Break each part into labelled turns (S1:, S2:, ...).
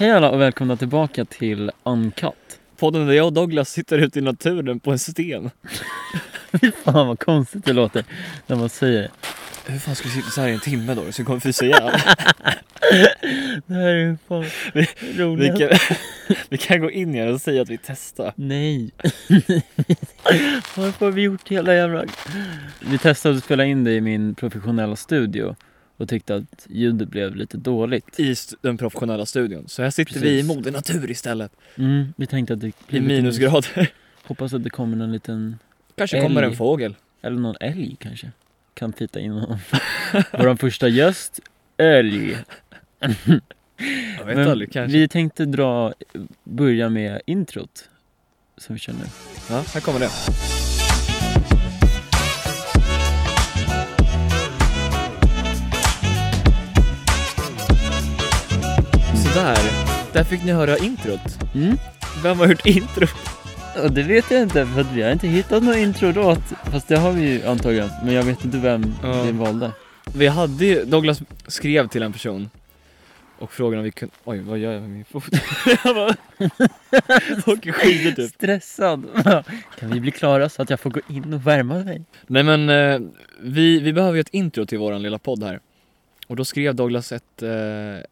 S1: Hej alla och välkomna tillbaka till Uncut.
S2: Podden där jag och Douglas sitter ute i naturen på en sten.
S1: Fy fan vad konstigt det låter när man säger det.
S2: Hur fan ska vi sitta så här i en timme då? Så vi kommer frysa ihjäl.
S1: Det här är ju fan
S2: vi,
S1: roligt.
S2: kan, vi kan gå in igen och säga att vi testar.
S1: Nej. Varför har vi gjort hela jävla... Vi testade att spela in det i min professionella studio och tyckte att ljudet blev lite dåligt.
S2: I st- den professionella studion. Så här sitter
S1: Precis.
S2: vi i moder natur istället.
S1: Mm, vi tänkte att det
S2: I
S1: blir lite
S2: minusgrader.
S1: Hoppas att det kommer någon liten,
S2: Kanske kommer
S1: Älg.
S2: en fågel.
S1: eller någon älg kanske. Kan titta in honom. Vår första gäst, älg.
S2: Jag vet
S1: Men
S2: aldrig kanske.
S1: Vi tänkte dra, börja med introt som vi kör nu.
S2: Ja, här kommer det. Sådär. Där fick ni höra introt.
S1: Mm.
S2: Vem har hört intro?
S1: Och det vet jag inte för att vi har inte hittat något introlåt. Fast det har vi ju antagligen. Men jag vet inte vem
S2: Ja.
S1: vi valde.
S2: Vi hade ju, Douglas skrev till en person och frågade om vi kunde, oj vad gör jag med min fot? jag bara, åker skidor typ.
S1: Stressad. kan vi bli klara så att jag får gå in och värma mig?
S2: Nej men eh, vi, vi behöver ju ett intro till våran lilla podd här. Och då skrev Douglas ett, eh,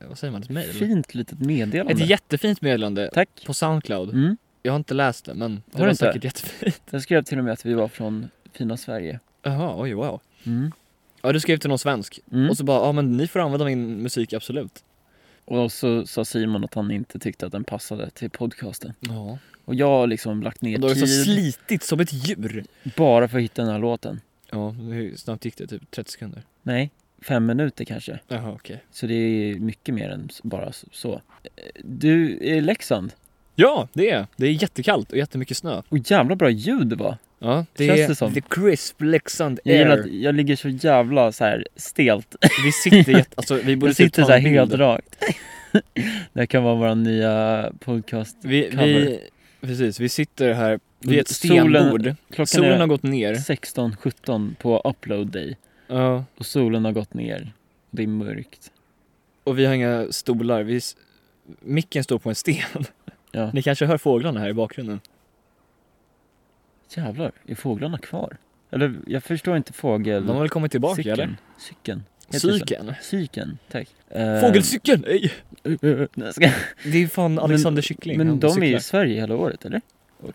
S2: vad säger man, ett mail?
S1: Fint litet meddelande.
S2: Ett jättefint meddelande
S1: Tack.
S2: på Soundcloud.
S1: Mm.
S2: Jag har inte läst det men det
S1: Har
S2: var
S1: du inte?
S2: säkert jättefint.
S1: Den skrev till och med att vi var från fina Sverige.
S2: Jaha, oj wow.
S1: Mm.
S2: Ja du skrev till någon svensk
S1: Mm.
S2: och så bara, ja men ni får använda min musik absolut.
S1: Och så sa Simon att han inte tyckte att den passade till podcasten.
S2: Ja.
S1: Och jag har liksom lagt ner
S2: Och då har du så
S1: tid
S2: slitit som ett djur.
S1: bara för att hitta den här låten.
S2: Ja, hur snabbt gick det? Typ 30 sekunder?
S1: Nej, fem minuter kanske.
S2: Jaha okej.
S1: Så det är mycket mer än s- bara s- så. Eh, Du, är i Leksand.
S2: Ja, det är Det är jättekallt och jättemycket snö.
S1: Och jävla bra ljud det var.
S2: Ja, det
S1: Känns
S2: är
S1: det som.
S2: the crisp Leksand
S1: Jag gillar
S2: air.
S1: att jag ligger så jävla så här stelt.
S2: Vi sitter jätte... Alltså, vi borde
S1: Jag
S2: typ
S1: sitter
S2: ta
S1: så här
S2: en bild.
S1: helt rakt. Det här kan vara vår nya podcast.
S2: Vi, vi,
S1: cover.
S2: precis, vi sitter här vid ett
S1: Solen-
S2: stenbord.
S1: Klockan
S2: Solen har
S1: är
S2: gått ner.
S1: 16.17 på upload day.
S2: Ja.
S1: Och solen har gått ner. Det är mörkt.
S2: Och vi har inga stolar. Vi... s- Micken står på en sten.
S1: Ja.
S2: Ni kanske hör fåglarna här i bakgrunden.
S1: Jävlar, är fåglarna kvar? Eller jag förstår inte fågel...
S2: De har väl kommit tillbaka eller?
S1: Cykeln. Cykeln. Heter det så?
S2: Cykeln?
S1: Cykeln, tack. Eh,
S2: Fågelcykeln! Nej!
S1: Nej, jag ska-
S2: Det är fan Alexander Kyckling.
S1: Men
S2: han
S1: de är ju
S2: cyklar.
S1: i Sverige hela året eller?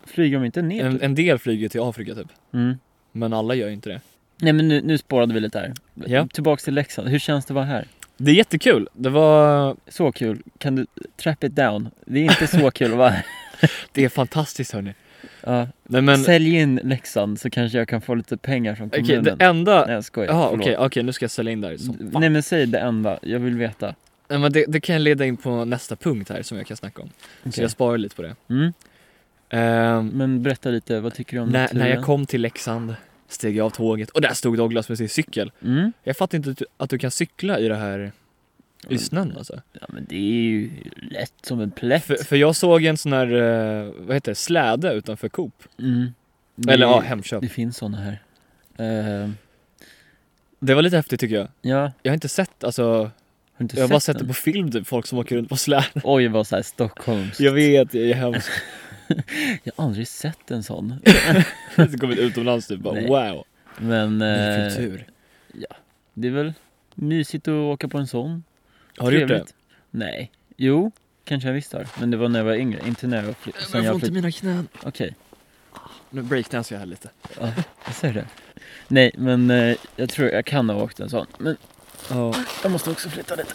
S1: Flyger de inte ner?
S2: en,
S1: typ?
S2: en del flyger till Afrika typ.
S1: Mm.
S2: Men alla gör ju inte det.
S1: Nej men nu, nu spårade vi lite här.
S2: Ja.
S1: Tillbaks till Leksand, hur känns det att vara här?
S2: Det är jättekul. Det var
S1: Så kul, kan du trap it down? Det är inte så kul att vara här.
S2: Det är fantastiskt hörni.
S1: Ja.
S2: Nej men,
S1: Sälj in Leksand så kanske jag kan få lite pengar från
S2: okej
S1: kommunen.
S2: det enda...
S1: Nej jag skojar,
S2: Jaha
S1: förlåt.
S2: okej, okej nu ska jag sälja in där som fan.
S1: Nej men säg det enda, jag vill veta.
S2: Nej men det, det kan jag leda in på nästa punkt här som jag kan snacka om. Så
S1: Okej.
S2: jag sparar lite på det.
S1: Mm.
S2: Ehm,
S1: Men berätta lite, vad tycker du om
S2: när,
S1: naturen?
S2: när jag kom till Leksand steg jag av tåget och där stod Douglas med sin cykel.
S1: Mm.
S2: Jag fattar inte att du, att du kan cykla i det här i snön alltså.
S1: Ja men det är ju lätt som en plätt.
S2: För, för jag såg en sån här, eh, vad heter det, släde utanför Coop.
S1: Mm. Det-
S2: Eller ja, Hemköp.
S1: Det finns såna här. Eh,
S2: Det var lite häftigt tycker jag.
S1: ja, har
S2: Jag har inte sett, alltså,
S1: du inte
S2: jag har bara sett
S1: den?
S2: det på film typ, folk som åker runt på släden.
S1: Oj vad såhär Stockholms.
S2: Jag vet, jag är hemsk.
S1: Jag har aldrig sett en sån.
S2: Så kommer vi utomlands typ bara
S1: Nej.
S2: wow.
S1: Men
S2: Ny
S1: eh,
S2: kultur.
S1: det är väl mysigt att åka på en sån.
S2: Har du gjort det?
S1: Trevligt. Nej. Jo, kanske jag visst har. Men det var när jag var yngre, inte när jag var fly- sen jag flyttade.
S2: mina knän.
S1: Okej,
S2: Nu breakdansar jag här lite.
S1: jag säger det. Nej, men eh, jag tror jag kan ha åkt en sån. Men
S2: Ja.
S1: jag måste också flytta lite.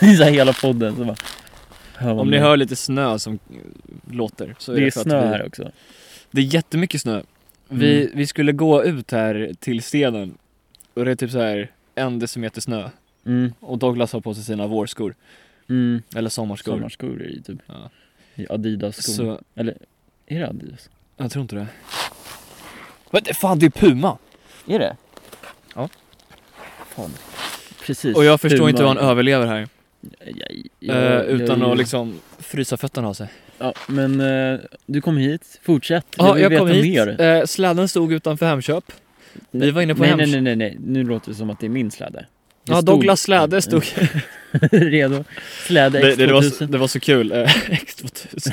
S1: det är så här hela podden så bara. hör man
S2: Om ni
S1: det.
S2: hör lite snö som eh, låter så är det,
S1: Det är
S2: för att
S1: snö
S2: vi...
S1: här Mm. också.
S2: Det är jättemycket snö. Vi, vi skulle gå ut här till stenen och det är typ så här en decimeter snö.
S1: Mm,
S2: Och Douglas har på sig sina vårskor.
S1: mm.
S2: Eller sommarskor.
S1: Sommarskor är det ju typ.
S2: Ja.
S1: I Adidas-skor.
S2: Så,
S1: Eller är det Adidas?
S2: jag tror inte det. Men det- fan det är Puma!
S1: Är det?
S2: Ja.
S1: Fan. Precis.
S2: Och jag förstår inte hur han
S1: man-
S2: överlever här.
S1: Jag- jag-
S2: eh,
S1: jag-
S2: utan
S1: jag-
S2: att liksom frysa fötterna av sig.
S1: Ja, men eh, du kom hit, fortsätt.
S2: Ja,
S1: vill
S2: jag
S1: veta
S2: kom hit.
S1: mer.
S2: Eh, släden stod utanför Hemköp. Vi var inne på
S1: nej,
S2: Hemköp.
S1: nej, nej, nej, nej, nu låter det som att det är min släde. Det
S2: Ja,
S1: stod-
S2: Douglas släde stod
S1: Redo. Släde
S2: det,
S1: X2000.
S2: det, det, var, så- det var så kul. Eh, X2000.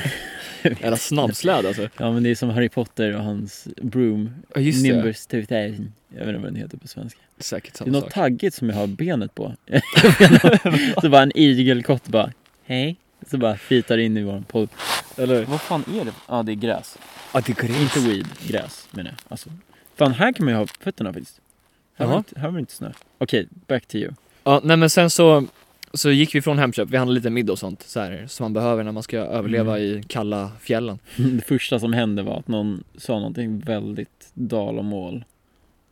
S2: Jävla snabbsläde alltså.
S1: Ja men det är som Harry Potter och hans broom.
S2: Ja just det.
S1: Nimbus 2000. Jag vet inte vad den heter på svenska.
S2: Säkert
S1: Det är
S2: samma
S1: något
S2: sak.
S1: taggigt som jag har benet på. Jag vet inte. så bara en igelkott bara, hej. Så bara fitar in i vår podd.
S2: Eller
S1: Vad fan är det? Ja det är gräs.
S2: Ja det går
S1: Inte weed, gräs menar jag. Alltså, fan här kan man ju ha fötterna faktiskt. Här var
S2: Jaha.
S1: inte- här var det inte snö. Okej, back to you.
S2: Ja nej men sen så, så gick vi från Hemköp, vi handlade lite middag och sånt så här, som man behöver när man ska överleva
S1: Mm.
S2: i kalla fjällen.
S1: Det första som hände var att någon sa någonting väldigt dalamål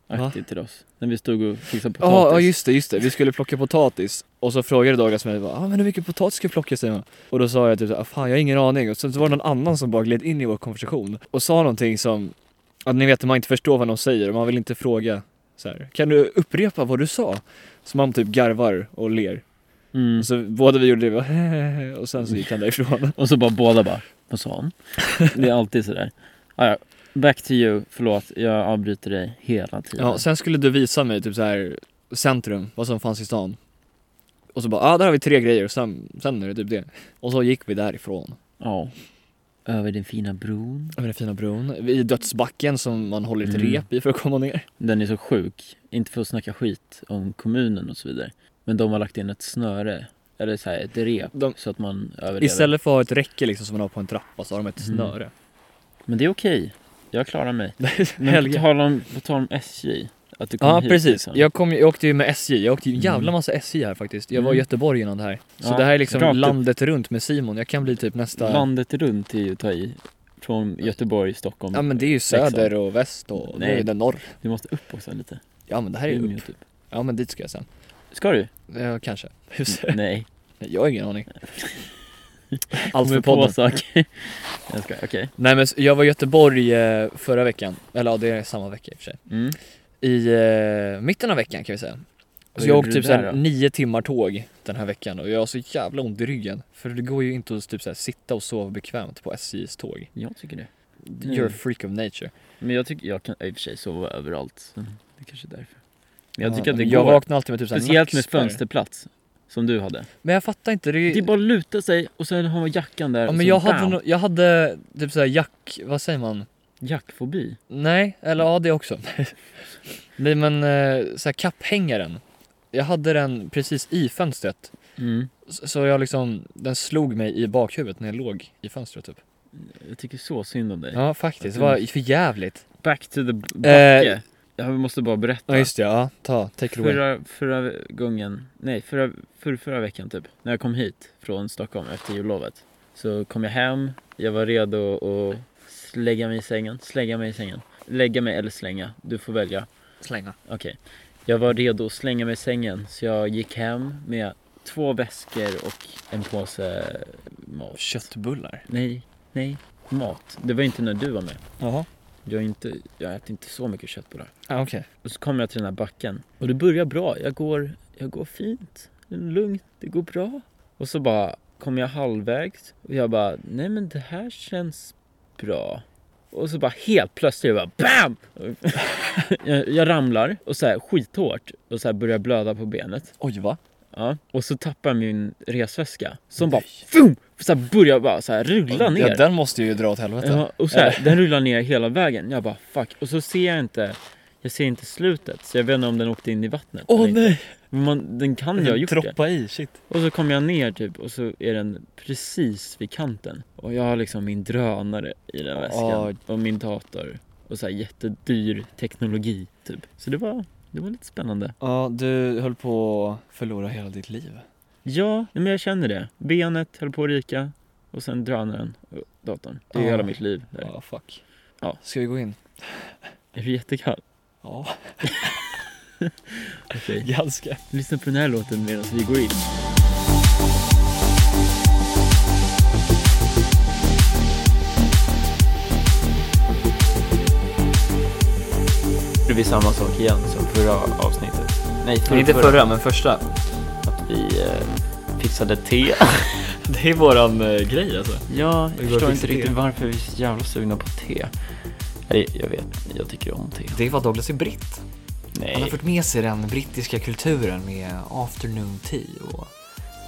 S1: aktigt till oss. När vi stod och fixade
S2: Ja ja,
S1: potatis.
S2: just det, just det. Vi skulle plocka potatis och så frågade Douglas mig bara, ah, men hur mycket potatis ska vi plocka Simon? Och då sa jag typ så här, ah, fan jag har ingen aning och sen så var det någon annan som bara gled in i vår konversation och sa någonting som, att ni vet att man inte förstår vad de säger och man vill inte fråga så här, kan du upprepa vad du sa? Så man typ garvar och ler.
S1: Mm.
S2: Och så båda vi gjorde det, vi bara, och sen så gick han därifrån.
S1: Och så bara båda bara, vad sa han? Det är alltid sådär. Ah, ja. Back to you, förlåt, jag avbryter dig hela tiden.
S2: Ja, sen skulle du visa mig typ så här centrum, vad som fanns i stan. Och så bara, ja ah, där har vi tre grejer och sen, sen är det typ det. Och så gick vi därifrån.
S1: Ja. Över den fina bron.
S2: Över den fina bron, i dödsbacken som man håller ett
S1: Mm.
S2: rep i för att komma ner.
S1: Den är så sjuk. Inte för att snacka skit om kommunen och så vidare. Men de har lagt in ett snöre, eller så här, ett rep,
S2: De-
S1: så att man överlever.
S2: Istället för att ha ett räcke liksom som man har på en trappa så har de ett
S1: Mm.
S2: snöre.
S1: Men det är okej. Jag klarar mig. Men på
S2: Helge.
S1: tal om, på tal om SJ. Att du kom
S2: Ja
S1: hit,
S2: precis,
S1: liksom.
S2: jag, kom, ju- jag åkte ju med SJ, jag åkte ju en jävla
S1: Mm.
S2: massa SJ här faktiskt. Jag var i
S1: Mm.
S2: Göteborg innan det här. Så
S1: Ja,
S2: det här är liksom
S1: rakt upp.
S2: landet runt med Simon, jag kan bli typ nästa...
S1: Landet runt är ju att ta i. Från Göteborg, Stockholm.
S2: Ja men det är ju
S1: Leksand.
S2: söder och väst och
S1: Nej.
S2: nu är det norr.
S1: Du måste upp också lite.
S2: Ja men det här är ju
S1: Umeå
S2: upp.
S1: typ.
S2: Ja men dit ska jag sen.
S1: Ska du?
S2: Ja, kanske.
S1: Nej.
S2: Jag har ingen aning. Allt
S1: Kommer
S2: för
S1: på
S2: podden.
S1: saker. Jag ska, okej.
S2: Nej men jag var i Göteborg eh, förra veckan, eller ja det är samma vecka i och för sig.
S1: Mm.
S2: I eh, mitten av veckan kan vi säga.
S1: Vad
S2: Så jag
S1: gjorde
S2: åkte
S1: du
S2: typ så här
S1: där då?
S2: nio timmar tåg den här veckan och jag har så jävla ont i ryggen. För det går ju inte att typ så här, sitta och sova bekvämt på SJs tåg.
S1: Jag tycker det.
S2: You're a freak of nature.
S1: Men jag tycker, jag kan i och för sig sova överallt. Så det kanske är därför. Men jag
S2: Ja,
S1: tycker att det
S2: men jag
S1: går.
S2: vaknar alltid med typ så här
S1: Speciellt med
S2: nackspärr.
S1: fönsterplats. Som du hade.
S2: Men jag fattar inte. Det är,
S1: Det är bara att luta sig och sen har man jackan där.
S2: ja,
S1: och
S2: men
S1: så
S2: jag
S1: bam.
S2: hade, no- jag hade typ så här jack, vad säger man?
S1: Jackfobi.
S2: Nej, eller ja det också. Nej men eh, så här kapphängaren. Jag hade den precis i fönstret.
S1: Mm.
S2: S- Så jag liksom, den slog mig i bakhuvudet när jag låg i fönstret typ.
S1: Jag tycker så synd om dig.
S2: Ja faktiskt, det var för jävligt.
S1: Back to the b- backe.
S2: Eh.
S1: Jag måste bara berätta.
S2: Ja just det, ja. Ta, take it away.
S1: Förra, förra gången, nej förra, för, förra veckan typ, när jag kom hit från Stockholm efter jullovet så kom jag hem, jag var redo att slägga mig i sängen, slägga mig i sängen, lägga mig eller slänga, du får välja.
S2: Slänga.
S1: Okej. Jag var redo att slänga mig i sängen så jag gick hem med två väskor och en påse mat.
S2: Köttbullar.
S1: Nej, nej, mat. Det var inte när du var med.
S2: Jaha.
S1: Jag, är inte, jag äter inte så mycket köttbullar.
S2: Ja okej.
S1: Och så kommer jag till den här backen. Och det börjar bra. Jag går, jag går fint. Det är Lugnt. Det går bra. Och så bara kommer jag halvvägs. Och jag bara, nej men det här känns bra. Och så bara helt plötsligt, jag bara BAM! jag, jag ramlar och så här skithårt och så här börjar blöda på benet.
S2: Oj va?
S1: Ja. Och så tappar jag min resväska som bara FOOM! Så här börjar bara så här rulla ner.
S2: Ja, den måste ju dra åt helvete.
S1: Ja, och så
S2: eh.
S1: här, den rullar ner hela vägen. Jag bara fuck. Och så ser jag inte, jag ser inte slutet. Så jag vet inte om den åkte in i vattnet.
S2: Åh
S1: eller inte.
S2: nej!
S1: Men man, den kan ju ha gjort det.
S2: Troppa i, shit.
S1: Och så kommer jag ner typ och så är den precis vid kanten. Och jag har liksom min drönare i den väskan.
S2: Åh.
S1: Och min dator. Och så här jättedyr teknologi typ. Så det var, det var lite spännande.
S2: Ja, du höll på att förlora hela ditt liv.
S1: Ja, nej, men jag känner det. Benet höll på att ryka. Och sen drönaren och datorn. Det är
S2: Ja.
S1: hela mitt liv. Där.
S2: Ja, fuck.
S1: Ja.
S2: Ska vi gå in?
S1: Är du jättekall?
S2: Ja,
S1: Okej.
S2: ganska.
S1: Lyssna på den här låten medan vi går in. Det blir samma sak igen som förra avsnittet. Nej,
S2: Men inte förra, men första.
S1: Att vi eh, fixade te.
S2: Det är våran eh, grej alltså.
S1: Ja,
S2: går
S1: jag
S2: och
S1: förstår inte
S2: fixar
S1: riktigt
S2: te.
S1: varför vi är så jävla sugna på te. Eller jag vet, jag tycker om te.
S2: Det var Douglas i britt. Han har
S1: Nej,
S2: fört med sig den brittiska kulturen med afternoon tea och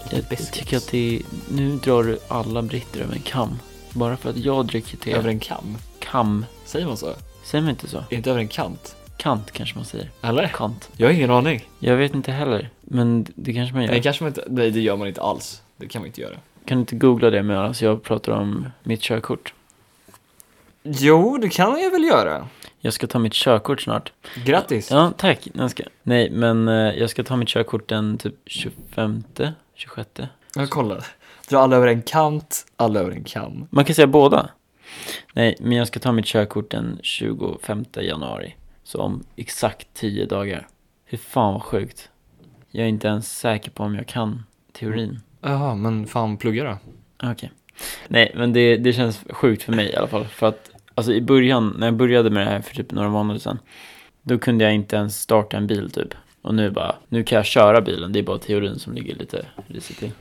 S2: lite
S1: jag, jag
S2: biscuits
S1: tycker att det är, Nu drar du alla britter över en kam. Bara för att jag dricker te.
S2: Över en kam?
S1: kam.
S2: Säger man så?
S1: Säger man inte så?
S2: Inte över en kant?
S1: Kant kanske man säger.
S2: Eller?
S1: Kant.
S2: Jag har ingen aning.
S1: Jag vet inte heller. Men det kanske man gör.
S2: Nej, kanske man inte, nej, det gör man inte alls. Det kan man inte göra.
S1: Kan du inte googla det medan jag pratar om mitt körkort?
S2: Jo, det kan jag väl göra.
S1: Jag ska ta mitt körkort snart.
S2: Grattis!
S1: Ja, tack. Nej, jag ska. Nej, men eh, jag ska ta mitt körkort den typ 25, 26.
S2: Jag kollar. Dra alla över en kant, alla över en kam.
S1: Man kan säga båda. Nej, men jag ska ta mitt körkort den 25 januari. Så om exakt 10 dagar. Hur fan vad sjukt. Jag är inte ens säker på om jag kan teorin.
S2: Jaha, men fan plugga då.
S1: Okej. Nej, men det, det känns sjukt för mig i alla fall. För att alltså, i början, när jag började med det här för typ några månader sedan, då kunde jag inte ens starta en bil typ. Och nu bara, nu kan jag köra bilen, det är bara teorin som ligger lite risigt till.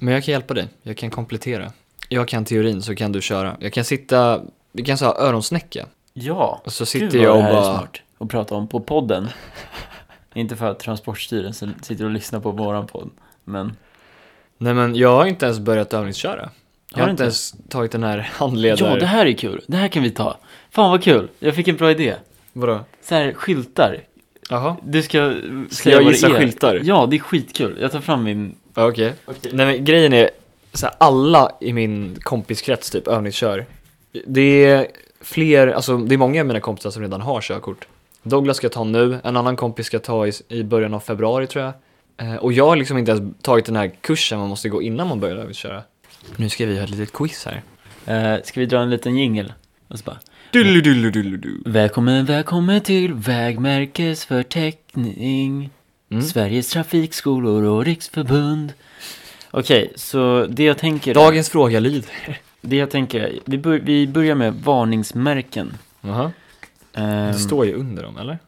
S2: Men jag kan hjälpa dig. Jag kan komplettera. Jag kan teorin så kan du köra. Jag kan sitta, vi kan säga öronsnäcka.
S1: Ja,
S2: Och så
S1: Gud,
S2: sitter
S1: vad
S2: jag
S1: det
S2: och
S1: här är
S2: bara...
S1: smart att prata om på podden. inte för att Transportstyrelsen sitter och lyssnar på våran podd, men
S2: Nej men jag har inte ens börjat övningsköra. Jag
S1: Har
S2: har
S1: du
S2: inte
S1: inte?
S2: ens tagit den här handledaren.
S1: Jo, det här är kul, det här kan vi ta. Fan vad kul, jag fick en bra idé.
S2: Vadå?
S1: Så här, skyltar.
S2: Jaha.
S1: Du ska
S2: Ska jag
S1: vad
S2: gissa
S1: det är.
S2: skyltar?
S1: Ja, det är skitkul. Jag tar fram min
S2: Ja, Okej. Nej men grejen är, så här, alla i min kompiskrets typ övningskör. Det är fler, alltså det är många av mina kompisar som redan har körkort. Douglas ska ta nu, en annan kompis ska ta i, i början av februari tror jag. Eh, och jag har liksom inte ens tagit den här kursen man måste gå innan man börjar övningsköra. Nu ska vi ha ett litet quiz här.
S1: Eh, ska vi dra en liten jingel? Och så bara... Välkommen, välkommen till vägmärkesförteckning.
S2: Mm.
S1: Sveriges trafikskolor och riksförbund. Okej, så det jag tänker...
S2: Dagens fråga lyder.
S1: Det jag tänker, vi, bör, vi börjar med varningsmärken.
S2: Jaha.
S1: Ehm,
S2: Det står ju under dem eller?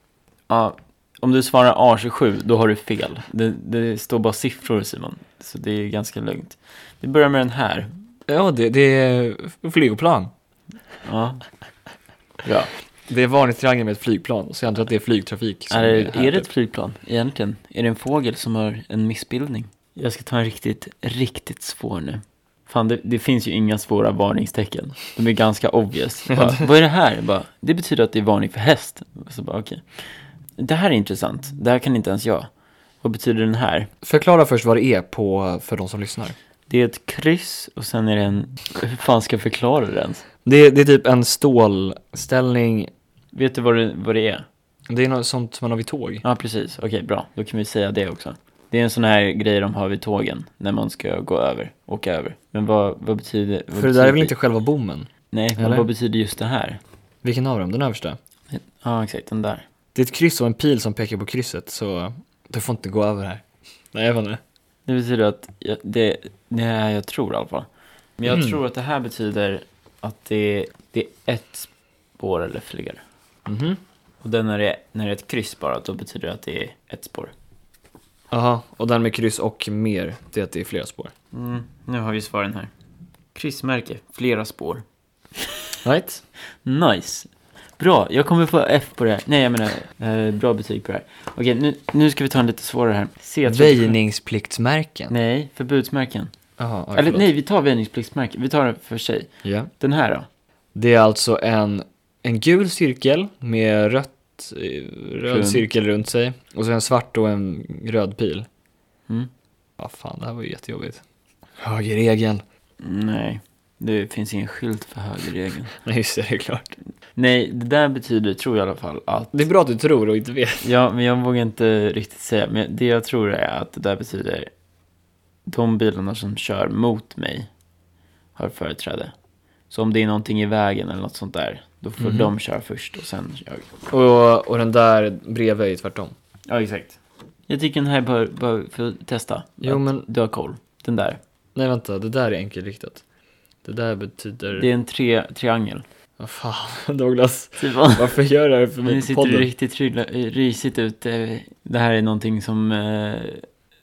S1: ja, om du svarar A27, då har du fel. Det, det står bara siffror Simon, så det är ganska lugnt. Vi börjar med den här.
S2: Ja, det, det är flygplan.
S1: Ja. Bra.
S2: Det är varningstriangel med ett flygplan, så jag antar att det är flygtrafik. som
S1: Är,
S2: här,
S1: är det ett
S2: typ.
S1: flygplan egentligen? Är det en fågel som har en missbildning? Jag ska ta en riktigt, riktigt svår nu. Fan, det, det finns ju inga svåra varningstecken. De är ganska obvious. Bara, vad är det här? Bara, det betyder att det är varning för häst. Så bara, okej. Det här är intressant. Det här kan inte ens jag. Vad betyder den här?
S2: Förklara först vad det är på, för de som lyssnar.
S1: Det är ett kryss och sen är det en... Hur fan ska jag förklara det ens?
S2: Det är, det är typ en stålställning,
S1: Vet du vad det, vad det är?
S2: det är något sånt som man har vid tåg.
S1: Ja, precis. Okej, bra. Då kan vi säga det också. Det är en sån här grej de har vid tågen när man ska gå över, åka över. Men vad, vad betyder... Vad
S2: För det
S1: betyder
S2: där är väl inte själva bommen?
S1: Nej, men
S2: eller?
S1: vad betyder just det här?
S2: Vilken av dem? Den översta?
S1: Ja, exakt, den där.
S2: Det är ett kryss och en pil som pekar på krysset, så du får inte gå över här. Nej, jag vet inte.
S1: Det betyder att, jag, det, det är jag tror i alla fall. Men jag
S2: Mm.
S1: tror att det här betyder att det, det är ett spår eller fler.
S2: Mhm.
S1: Och den när det, när det är ett kryss bara, då betyder det att det är ett spår.
S2: Jaha, och den med kryss och mer, det är att det är flera spår.
S1: Mm, nu har vi svaren här. Kryssmärke, flera spår.
S2: Right?
S1: Nice. Bra, jag kommer få F på det här. Nej, jag menar eh, bra betyg på det här. Okej, nu, nu ska vi ta en lite svårare här. C-
S2: Väjningspliktsmärken.
S1: Nej, förbudsmärken.
S2: Jaha, ja,
S1: Eller
S2: förlåt.
S1: nej, vi tar väjningspliktsmärken. Vi tar den för sig.
S2: Ja.
S1: Den här då?
S2: Det är alltså en, en gul cirkel med rött, eh, röd
S1: Runt.
S2: cirkel runt sig och så en svart och en röd pil.
S1: Mm.
S2: Ja, fan, det här var ju jättejobbigt. Högerregeln.
S1: Nej, det finns ingen skylt för högerregeln.
S2: Nej, just det, det är klart.
S1: nej, det där betyder, tror jag i alla fall, att...
S2: Det är bra att du tror och inte vet.
S1: Ja, men jag vågar inte riktigt säga. Men det jag tror är att det där betyder de bilarna som kör mot mig har företräde. Så om det är någonting i vägen eller något sånt där, då får
S2: Mhm.
S1: de köra först och sen jag.
S2: Och, och den där bredvid är ju tvärtom.
S1: Ja, exakt. Jag tycker den här bör, bör få testa.
S2: Jo,
S1: Att
S2: men-
S1: Du har koll. Den där.
S2: Nej, vänta, det där är enkelriktat. Det där betyder...
S1: Det är en tre, triangel.
S2: Vad fan, Douglas.
S1: Simon,
S2: Varför gör du det här för
S1: nu
S2: mig på
S1: sitter du
S2: podden?
S1: riktigt trylla- eh, risigt ut. eh, Det här är någonting som eh,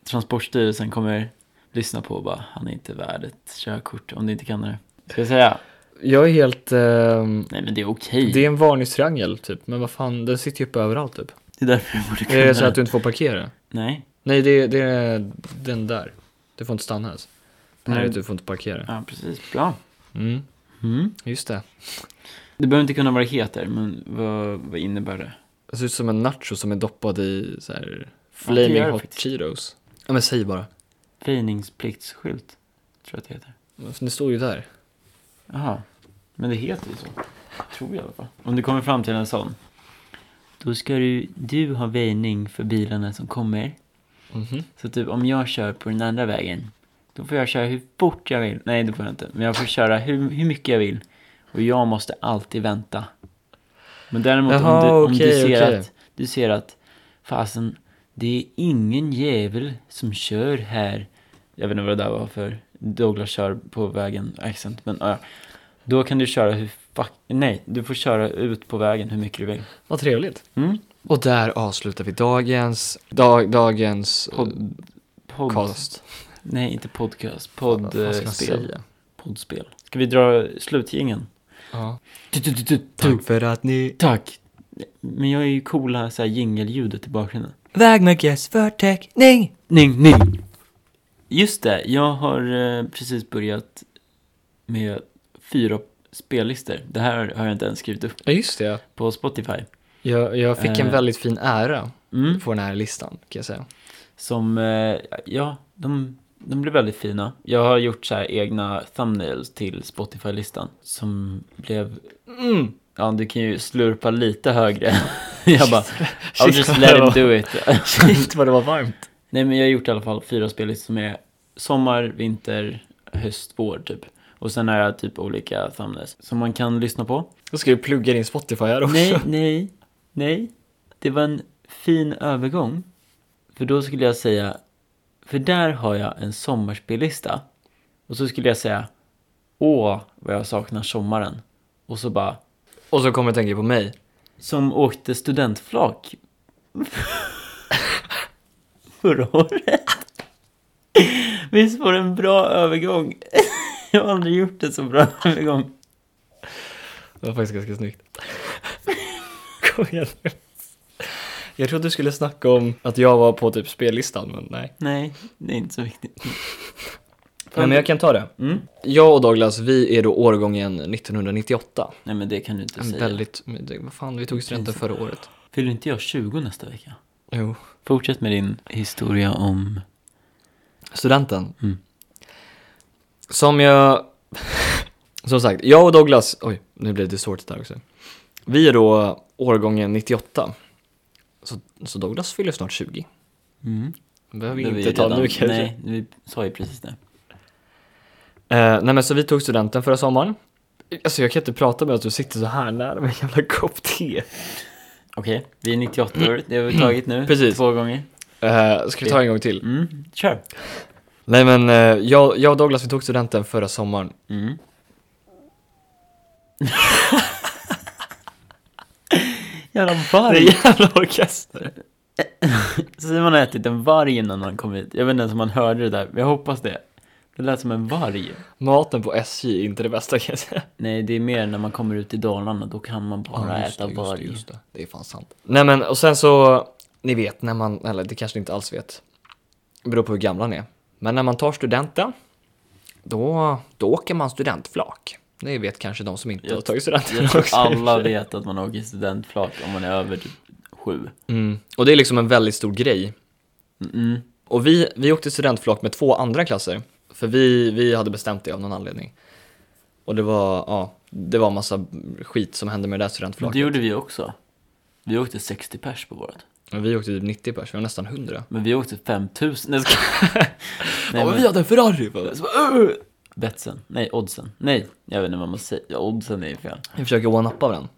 S1: Transportstyrelsen kommer lyssna på och bara, han är inte värd ett körkort om du inte kan det här. Ska jag säga?
S2: Jag är helt... ehm,
S1: Nej men det är okej.
S2: det är en varningstriangel, typ. Men vad fan, den sitter ju uppe överallt, typ.
S1: Det är därför du borde kunna.
S2: Är det så att du inte får parkera?
S1: Nej.
S2: Nej, det, det är den där. Du får inte stanna ens. Det här är
S1: Nej.
S2: att du får inte parkera.
S1: Ja, precis. Bra.
S2: Mm,
S1: Mm.
S2: just det.
S1: Du behöver inte kunna vad det heter, men vad, vad innebär det?
S2: Det ser ut som en nacho som är doppad i så här
S1: Ja, det
S2: flaming
S1: gör det
S2: hot
S1: faktiskt.
S2: cheetos. Ja men säg bara.
S1: Väjningspliktsskylt, tror jag att det heter.
S2: Det står ju där.
S1: Jaha. Men det heter ju så. Tror jag i alla fall. Om du kommer fram till en sån. Då ska du, du ha väjning för bilarna som kommer.
S2: Mhm.
S1: Så typ om jag kör på den andra vägen, då får jag köra hur fort jag vill. Nej, det får jag inte. Men jag får köra hur, hur mycket jag vill. Och jag måste alltid vänta. Men däremot
S2: Jaha,
S1: om, du, om du
S2: okej,
S1: ser
S2: okej.
S1: att, du ser att, fasen, det är ingen jävel som kör här. Jag vet inte vad det där var för Douglas kör på vägen, accent, men ja. ja. Då kan du köra hur fuck, nej, du får köra ut på vägen hur mycket du vill.
S2: Vad trevligt.
S1: Mm?
S2: Och där avslutar vi dagens, dag, dagens eh,
S1: Pod, pod,
S2: podcast.
S1: Nej, inte podcast,
S2: Vad fan ska man
S1: poddspel.
S2: säga?
S1: poddspel. Ska vi dra slutgingen?
S2: Ja.
S1: Du, du, du, du, du.
S2: Tack för att ni...
S1: Tack. Men jag är ju coola så här jingelljudet i bakgrunden.
S2: Vägmärkes förteckning!
S1: Ning, ning. Just det, jag har eh, precis börjat med fyra spellistor. Det här har jag inte ens skrivit upp
S2: Ja just det.
S1: på Spotify.
S2: Jag, jag fick en
S1: Eh.
S2: väldigt fin ära
S1: Mm.
S2: på den här listan kan jag säga.
S1: Som, eh, ja, de, de blir väldigt fina. Jag har gjort så här egna thumbnails till Spotify-listan som blev,
S2: Mm.
S1: ja du kan ju slurpa lite högre. jag bara, I'll
S2: Shit,
S1: just
S2: vad
S1: let
S2: det var-
S1: him do it.
S2: Shit vad det var varmt.
S1: Nej men jag har gjort i alla fall fyra spellistor som är sommar, vinter, höst, vår typ. Och sen har jag typ olika thumbnails som man kan lyssna på.
S2: Då ska du plugga din Spotify här också.
S1: Nej, nej, nej. Det var en fin övergång. För då skulle jag säga, för där har jag en sommarspellista. Och så skulle jag säga, åh vad jag saknar sommaren. Och så bara,
S2: Och så kommer jag tänka på mig.
S1: som åkte studentflak förra året. Visst var det en bra övergång? Jag har aldrig gjort en så bra övergång.
S2: Det var faktiskt ganska snyggt. Kom igen nu. Jag trodde du skulle snacka om att jag var på typ spellistan, men nej.
S1: Nej, det är inte så viktigt.
S2: Nej, men jag kan ta det.
S1: Mm.
S2: Jag och Douglas, vi är då årgången 1998.
S1: Nej men det kan du inte
S2: En
S1: säga.
S2: väldigt, men det- vad fan, vi tog studenten förra året.
S1: Fyller inte jag 20 nästa vecka?
S2: Jo.
S1: Fortsätt med din historia om...
S2: Studenten.
S1: Mm.
S2: Som jag... Som sagt, jag och Douglas... Oj, nu blev det svårt där också. Vi är då årgången 98. Så, så Douglas fyller snart 20.
S1: Mm. Det
S2: behöver vi
S1: var
S2: inte
S1: ju
S2: ta
S1: redan-
S2: nu kanske.
S1: Nej, vi sa ju precis det.
S2: Eh, nej men så vi tog studenten förra sommaren. Alltså jag kan inte prata med att du sitter så här nära med en jävla kopp te.
S1: Okej, vi är 98 år. Det har vi tagit nu.
S2: Mm. Precis.
S1: Två gånger.
S2: Eh, ska vi ta en gång till?
S1: Mm. Kör.
S2: Nej men eh, jag, jag och Douglas vi tog studenten förra sommaren.
S1: Mm. Jävla
S2: Det
S1: varg.
S2: är jävla orkester.
S1: Simon har ätit en varg innan han kom hit. Jag vet inte ens om han hörde det där, men jag hoppas det. Det lät som en varg.
S2: Maten på SJ är inte det bästa kan jag säga.
S1: Nej, det är mer när man kommer ut i Dalarna, då kan man bara
S2: Ja, just
S1: äta
S2: det, just det,
S1: varg.
S2: just det. Det är fan sant. Nej men och sen så, ni vet när man, eller det kanske ni inte alls vet. Det beror på hur gamla ni är. Men när man tar studenten, då, då åker man studentflak. Det vet kanske de som inte
S1: Jag-
S2: har tagit studenten
S1: Jag tror
S2: också.
S1: alla vet att man åker studentflak om man är över typ sju.
S2: Mm. Och det är liksom en väldigt stor grej.
S1: Mm.
S2: Och vi, vi åkte studentflak med två andra klasser. För vi, vi hade bestämt det av någon anledning. Och det var, ja, det var massa skit som hände med det där
S1: Men
S2: studentflaket.
S1: det gjorde vi också. Vi åkte 60 pers på vårat.
S2: Men Vi åkte typ 90 pers, vi var nästan 100.
S1: Men vi åkte 5000. Nej, jag skojar. Nej,
S2: ja, men
S1: men-
S2: vi hade en Ferrari! bara.
S1: Betsen. Nej, oddsen. Nej, jag vet inte vad man säger. Ja, Oddsen är ju fel. Mm.
S2: Vi försöker one-uppa varandra.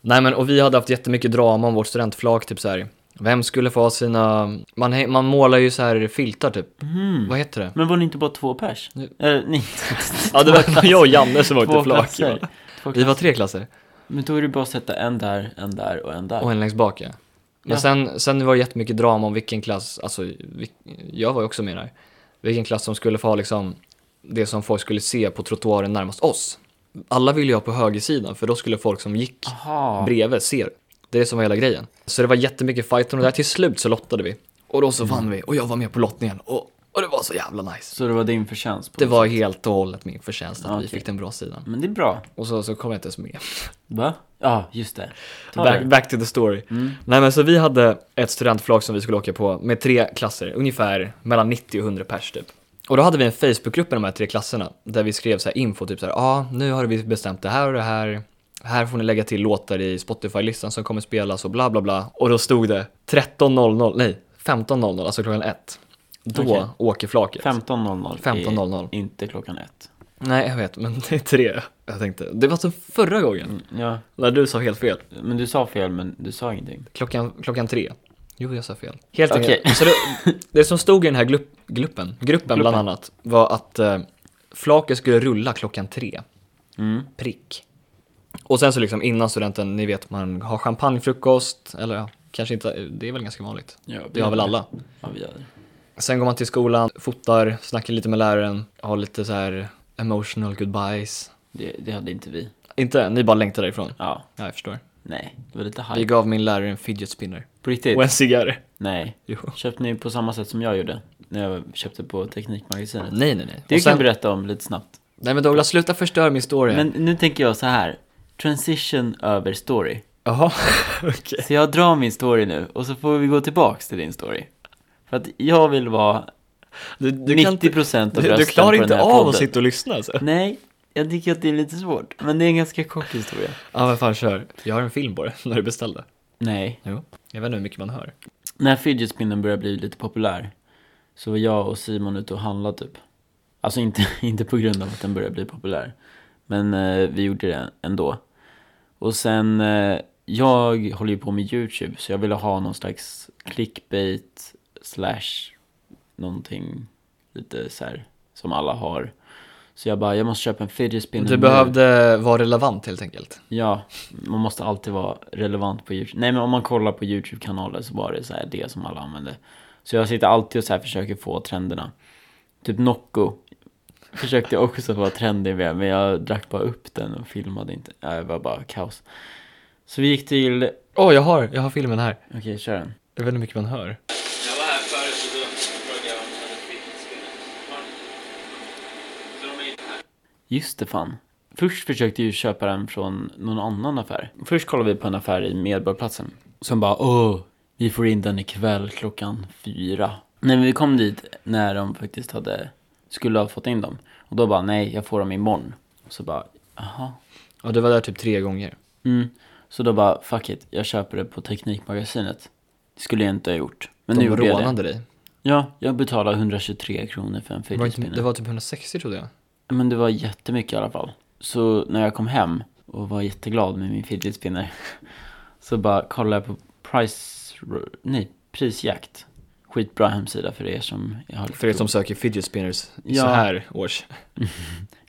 S2: Nej men och vi hade haft jättemycket drama om vårt studentflak, typ så här. Vem skulle få ha sina, man, hä- man målar ju så här filtar typ.
S1: Mhm.
S2: Vad heter det?
S1: Men var ni inte bara två pers?
S2: Nu-
S1: Eller, nej.
S2: Ja det var jag och Janne som
S1: Två
S2: åkte flak.
S1: klasser.
S2: ja.
S1: Två
S2: Vi var
S1: klasser.
S2: tre klasser.
S1: Men då är det bara att sätta en där, en där och en där.
S2: Och en längst bak ja. Men
S1: Ja.
S2: sen, sen var det jättemycket drama om vilken klass, alltså vil, jag var ju också med där. Vilken klass som skulle få ha liksom det som folk skulle se på trottoaren närmast oss. Alla ville ju ha på högersidan för då skulle folk som gick
S1: Aha.
S2: bredvid se. Det är det som var hela grejen. Så det var jättemycket fight om det där. Till slut så lottade vi. Och då så
S1: Mm.
S2: vann vi och jag var med på lottningen och, och det var så jävla nice.
S1: Så det var din förtjänst? På
S2: Det var helt och hållet min förtjänst att
S1: Ja,
S2: vi
S1: okej.
S2: fick den bra sidan.
S1: Men det är bra.
S2: Och så, så kom jag inte ens med.
S1: Va? Ja, just det. Ta
S2: Back,
S1: det.
S2: back to the story.
S1: Mm.
S2: Nej men så vi hade ett studentflag som vi skulle åka på med tre klasser, ungefär mellan 90 och 100 pers typ. Och då hade vi en Facebookgrupp med de här tre klasserna där vi skrev så här info, typ så här, ja ah, nu har vi bestämt det här och det här. Här får ni lägga till låtar i Spotify-listan som kommer spelas och bla bla bla. Och då stod det 13.00, nej 15.00, alltså klockan ett. Då
S1: Okej.
S2: åker flaket.
S1: 15.00. är
S2: 15.00.
S1: Inte klockan ett.
S2: Nej jag vet, men det är tre. Jag tänkte, det var som förra gången
S1: Ja,
S2: när du sa helt fel.
S1: men du sa fel, men du sa ingenting.
S2: Klockan, klockan tre. Jo, jag sa fel. Helt
S1: Okej.
S2: enkelt. Så det, det som stod i den här glupp, gruppen, gruppen, bland
S1: Gruppen.
S2: annat, var att eh, flaket skulle rulla klockan tre.
S1: Mm.
S2: Prick. Och sen så liksom innan studenten, ni vet man har champagnefrukost, eller ja, kanske inte, det är väl ganska vanligt.
S1: Ja,
S2: Det har väl alla.
S1: Ja, vi gör det.
S2: Sen går man till skolan, fotar, snackar lite med läraren, har lite så här emotional goodbyes.
S1: det. Det hade inte vi.
S2: Inte, ni bara längtar därifrån.
S1: Ja,
S2: Ja, jag förstår.
S1: nej. Det var lite
S2: Vi
S1: hype.
S2: gav min lärare en fidget spinner.
S1: På riktigt?
S2: Och en cigarr.
S1: Nej.
S2: Jo.
S1: Köpte ni på samma sätt som jag gjorde? När jag köpte på Teknikmagasinet?
S2: Nej, nej, nej.
S1: Det
S2: Och
S1: kan
S2: sen-
S1: jag berätta om lite snabbt.
S2: Nej men Douglas, sluta förstöra min story.
S1: Men nu tänker jag så här. Transition över story.
S2: Jaha, okej.
S1: Så jag drar min story nu och så får vi gå tillbaks till din story. För att jag vill vara
S2: Du, du, kan
S1: 90%
S2: inte,
S1: av
S2: du,
S1: rösten
S2: du klarar
S1: på den
S2: inte
S1: här
S2: av att
S1: podden.
S2: sitta och lyssna alltså.
S1: Nej, jag tycker att det är lite svårt. Men det är en ganska kort historia.
S2: Ja men fan kör. Jag har en film på det, när du beställde.
S1: Nej.
S2: Jo. Jag vet inte hur mycket man hör.
S1: När fidget spinnen började bli lite populär så var jag och Simon ute och handlade typ. Alltså inte, inte på grund av att den började bli populär. Men eh, vi gjorde det ändå. Och sen, eh, jag håller ju på med YouTube så jag ville ha någon slags clickbait slash någonting lite så här som alla har. Så jag bara, jag måste köpa en fidget spinner
S2: Du
S1: nu.
S2: behövde vara relevant helt enkelt.
S1: Ja, man måste alltid vara relevant på YouTube. Nej men om man kollar på YouTube-kanaler så var det så här det som alla använde. Så jag sitter alltid och så här försöker få trenderna. Typ Nocco försökte jag också vara trendig med, men jag drack bara upp den och filmade inte. Ja, Det var bara kaos. Så vi gick till...
S2: Åh, jag har, jag har filmen här.
S1: Okej, kör den.
S2: Jag vet inte hur mycket man hör.
S3: Jag var här förut och då frågade jag om de hade fidgetspinners. Har ni? Så de är inte här.
S1: Just det fan. Först försökte jag ju köpa den från någon annan affär. Först kollade vi på en affär i Medborgarplatsen. Som bara åh, vi får in den ikväll klockan fyra. Nej men vi kom dit när de faktiskt hade, skulle ha fått in dem. Och då bara nej, jag får dem imorgon. Och så bara, jaha.
S2: Ja, du var där typ tre gånger.
S1: Mm. Så då bara fuck it, jag köper det på Teknikmagasinet. Det skulle jag inte ha gjort. Men
S2: de
S1: nu gjorde jag det.
S2: rånade dig.
S1: Ja, jag betalade 123 kronor för en
S2: Det var, inte,
S1: fidget
S2: det var typ 160 trodde jag.
S1: Men det var jättemycket i alla fall. Så när jag kom hem och var jätteglad med min fidget spinner så bara kollade jag på price... Nej, prisjakt. Skitbra hemsida för er som har lite
S2: För er som söker fidget spinners i
S1: Ja.
S2: så här års.